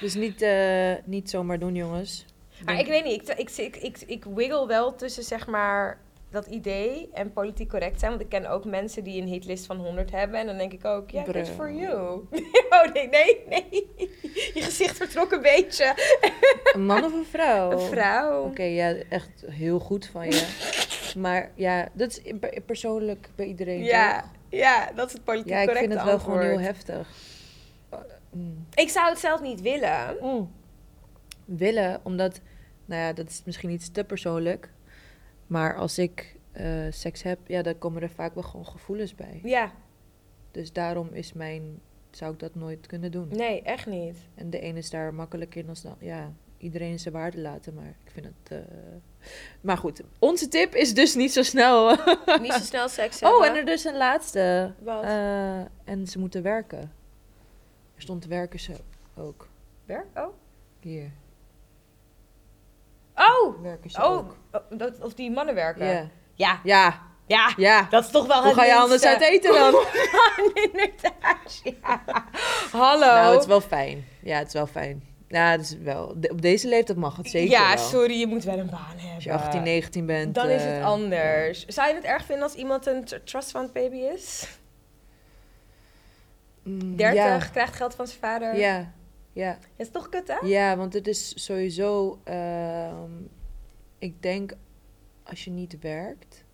Speaker 2: Dus niet, eh, niet zomaar doen, jongens.
Speaker 1: Maar ik weet niet, ik, ik, ik, ik, ik wiggle wel tussen zeg maar dat idee en politiek correct zijn. Want ik ken ook mensen die een hitlist van 100 hebben. En dan denk ik ook, ja, good
Speaker 2: Bro.
Speaker 1: for you. oh nee, nee, nee. Je gezicht vertrok een beetje.
Speaker 2: Een man of een vrouw?
Speaker 1: Een vrouw.
Speaker 2: Oké, ja, echt heel goed van je. maar ja, dat is per- persoonlijk bij iedereen.
Speaker 1: ja,
Speaker 2: toch?
Speaker 1: ja, dat is het politiek
Speaker 2: ja ik
Speaker 1: correcte
Speaker 2: vind het wel
Speaker 1: antwoord.
Speaker 2: gewoon heel heftig. Eh, mm.
Speaker 1: Ik zou het zelf niet willen.
Speaker 2: willen, omdat, nou ja, dat is misschien iets te persoonlijk. Maar als ik eh, seks heb, ja, dan komen er vaak wel gewoon gevoelens bij.
Speaker 1: Ja,
Speaker 2: Dus daarom is mijn, zou ik dat nooit kunnen doen.
Speaker 1: nee, echt niet.
Speaker 2: En de een is daar makkelijk in als dan, ja, iedereen is zijn waarde laten, maar ik vind het. eh, Maar goed, onze tip is dus niet zo snel.
Speaker 1: Niet zo snel seks hebben.
Speaker 2: oh, en er dus een laatste.
Speaker 1: Wat?
Speaker 2: Eh, en ze moeten werken. Er stond werken ze ook.
Speaker 1: Weer? Oh.
Speaker 2: Hier,
Speaker 1: Oh!
Speaker 2: werken ze
Speaker 1: Oh,
Speaker 2: ook.
Speaker 1: oh, dat, of die mannen werken.
Speaker 2: Ja,
Speaker 1: Ja,
Speaker 2: ja,
Speaker 1: ja.
Speaker 2: ja.
Speaker 1: Dat is toch wel
Speaker 2: Hoe
Speaker 1: het
Speaker 2: ga je anders
Speaker 1: minste.
Speaker 2: uit eten dan?
Speaker 1: Inderdaad, ja. Hallo.
Speaker 2: Nou, het is wel fijn. Ja, het is wel fijn. Ja, het is wel. de- op deze leeftijd mag het zeker
Speaker 1: ja,
Speaker 2: wel.
Speaker 1: sorry, je moet wel een baan hebben.
Speaker 2: Als je 18, 19 bent.
Speaker 1: Dan is het
Speaker 2: eh,
Speaker 1: anders. Zou je het erg vinden als iemand een tr- trust fund baby is?
Speaker 2: mm,
Speaker 1: 30,
Speaker 2: Ja,
Speaker 1: krijgt geld van zijn vader.
Speaker 2: ja, ja.
Speaker 1: Dat is toch kut, hè?
Speaker 2: Ja, want het is sowieso. ehm, ik denk als je niet werkt,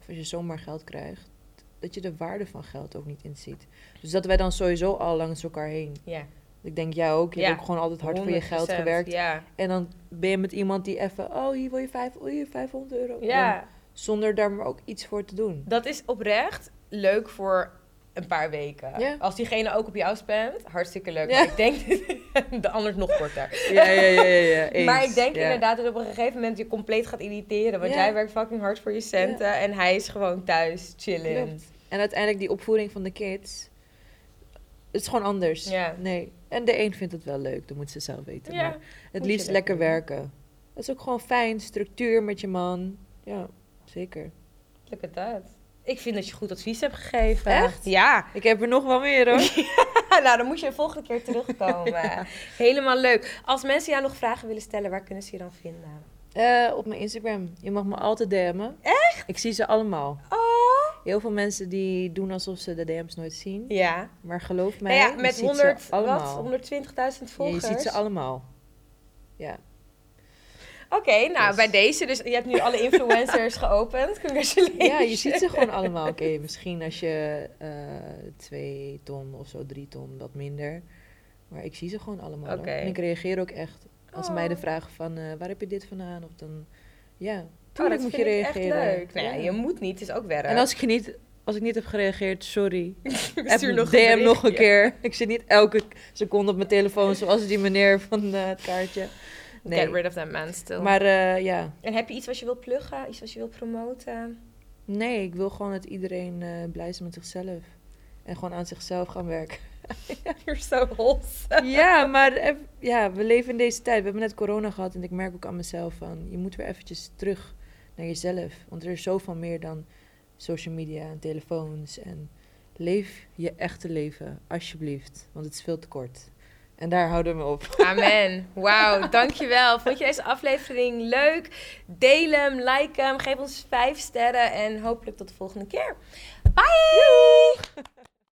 Speaker 2: of als je zomaar geld krijgt, dat je de waarde van geld ook niet inziet. Dus dat wij dan sowieso al langs elkaar heen.
Speaker 1: Ja.
Speaker 2: Ik denk jij ook, je
Speaker 1: Ja,
Speaker 2: hebt ook gewoon altijd hard voor je geld
Speaker 1: 100%,
Speaker 2: gewerkt.
Speaker 1: Ja.
Speaker 2: En dan ben je met iemand die even, oh hier wil je vijf, oh, hier 500 euro. Dan-
Speaker 1: ja,
Speaker 2: Zonder daar maar ook iets voor te doen.
Speaker 1: dat is oprecht leuk voor een paar weken.
Speaker 2: Ja.
Speaker 1: Als diegene ook op jou spamt, hartstikke leuk.
Speaker 2: Ja.
Speaker 1: Maar ik denk, de anders nog korter.
Speaker 2: Ja, ja, ja, ja. ja, eens.
Speaker 1: Maar ik denk
Speaker 2: Ja.
Speaker 1: inderdaad dat op een gegeven moment je compleet gaat irriteren. Want
Speaker 2: Ja.
Speaker 1: jij werkt fucking hard voor je centen en hij is gewoon thuis chillen.
Speaker 2: Klopt. En uiteindelijk die opvoeding van de kids. Het is gewoon anders.
Speaker 1: Ja.
Speaker 2: Nee. En de een vindt het wel leuk, dat moet ze zelf weten.
Speaker 1: Ja,
Speaker 2: maar het
Speaker 1: je
Speaker 2: liefst lekker
Speaker 1: lekker
Speaker 2: werken. Dat is ook gewoon fijn, structuur met je man. Ja, zeker.
Speaker 1: look at that. Ik vind dat je goed advies hebt gegeven.
Speaker 2: Echt?
Speaker 1: Ja.
Speaker 2: Ik heb er nog wel meer hoor.
Speaker 1: nou, dan moet je de volgende keer terugkomen. Helemaal leuk. Als mensen jou nog vragen willen stellen, waar kunnen ze je dan vinden?
Speaker 2: Eh, op mijn Instagram. Je mag me altijd DM'en. Echt? Ik zie ze allemaal.
Speaker 1: Oh.
Speaker 2: Heel veel mensen die doen alsof ze de DM's nooit zien.
Speaker 1: Ja.
Speaker 2: Maar geloof mij,
Speaker 1: Nou ja,
Speaker 2: je
Speaker 1: met
Speaker 2: ziet
Speaker 1: 100,
Speaker 2: ze
Speaker 1: wat?
Speaker 2: allemaal.
Speaker 1: 120.000
Speaker 2: Ja, je
Speaker 1: volgers.
Speaker 2: ziet ze allemaal. Ja.
Speaker 1: Oké, nou
Speaker 2: Dus-
Speaker 1: bij deze, dus je hebt nu alle influencers geopend. Congratulations. Oh,
Speaker 2: ja, je ziet ze gewoon allemaal. Oké, misschien als je eh, twee ton of zo, drie ton, wat minder. Maar ik zie ze gewoon allemaal. hoor.
Speaker 1: Oké.
Speaker 2: En ik reageer ook echt. Als
Speaker 1: Oh.
Speaker 2: mij de vraag van, eh, waar heb je dit vandaan? Of dan, ja,
Speaker 1: Oh,
Speaker 2: tuurlijk
Speaker 1: dat
Speaker 2: moet
Speaker 1: vind
Speaker 2: je
Speaker 1: ik echt
Speaker 2: reageren.
Speaker 1: leuk. Nou ja,
Speaker 2: Ja.
Speaker 1: je moet niet, het is ook werk.
Speaker 2: En als ik, je niet, als ik niet heb gereageerd, sorry.
Speaker 1: ik
Speaker 2: App me, DM nog een keer. Ik zit niet elke seconde op mijn telefoon zoals die meneer van eh, het kaartje. Nee,
Speaker 1: Get rid of that man still.
Speaker 2: maar eh, ja.
Speaker 1: En heb je iets wat je wilt pluggen, iets wat je wilt promoten?
Speaker 2: Nee, ik wil gewoon dat iedereen eh, blij is met zichzelf. En gewoon aan zichzelf gaan werken.
Speaker 1: You're so wholesome.
Speaker 2: ja, maar eff- ja, we leven in deze tijd. We hebben net corona gehad en ik merk ook aan mezelf van... je moet weer eventjes terug naar jezelf. Want er is zoveel meer dan social media en telefoons. En leef je echte leven, alsjeblieft. Want het is veel te kort. En daar houden we op.
Speaker 1: Amen. Wauw, dankjewel. Vond je deze aflevering leuk? Deel hem, like hem, geef ons vijf sterren en hopelijk tot de volgende keer. Bye!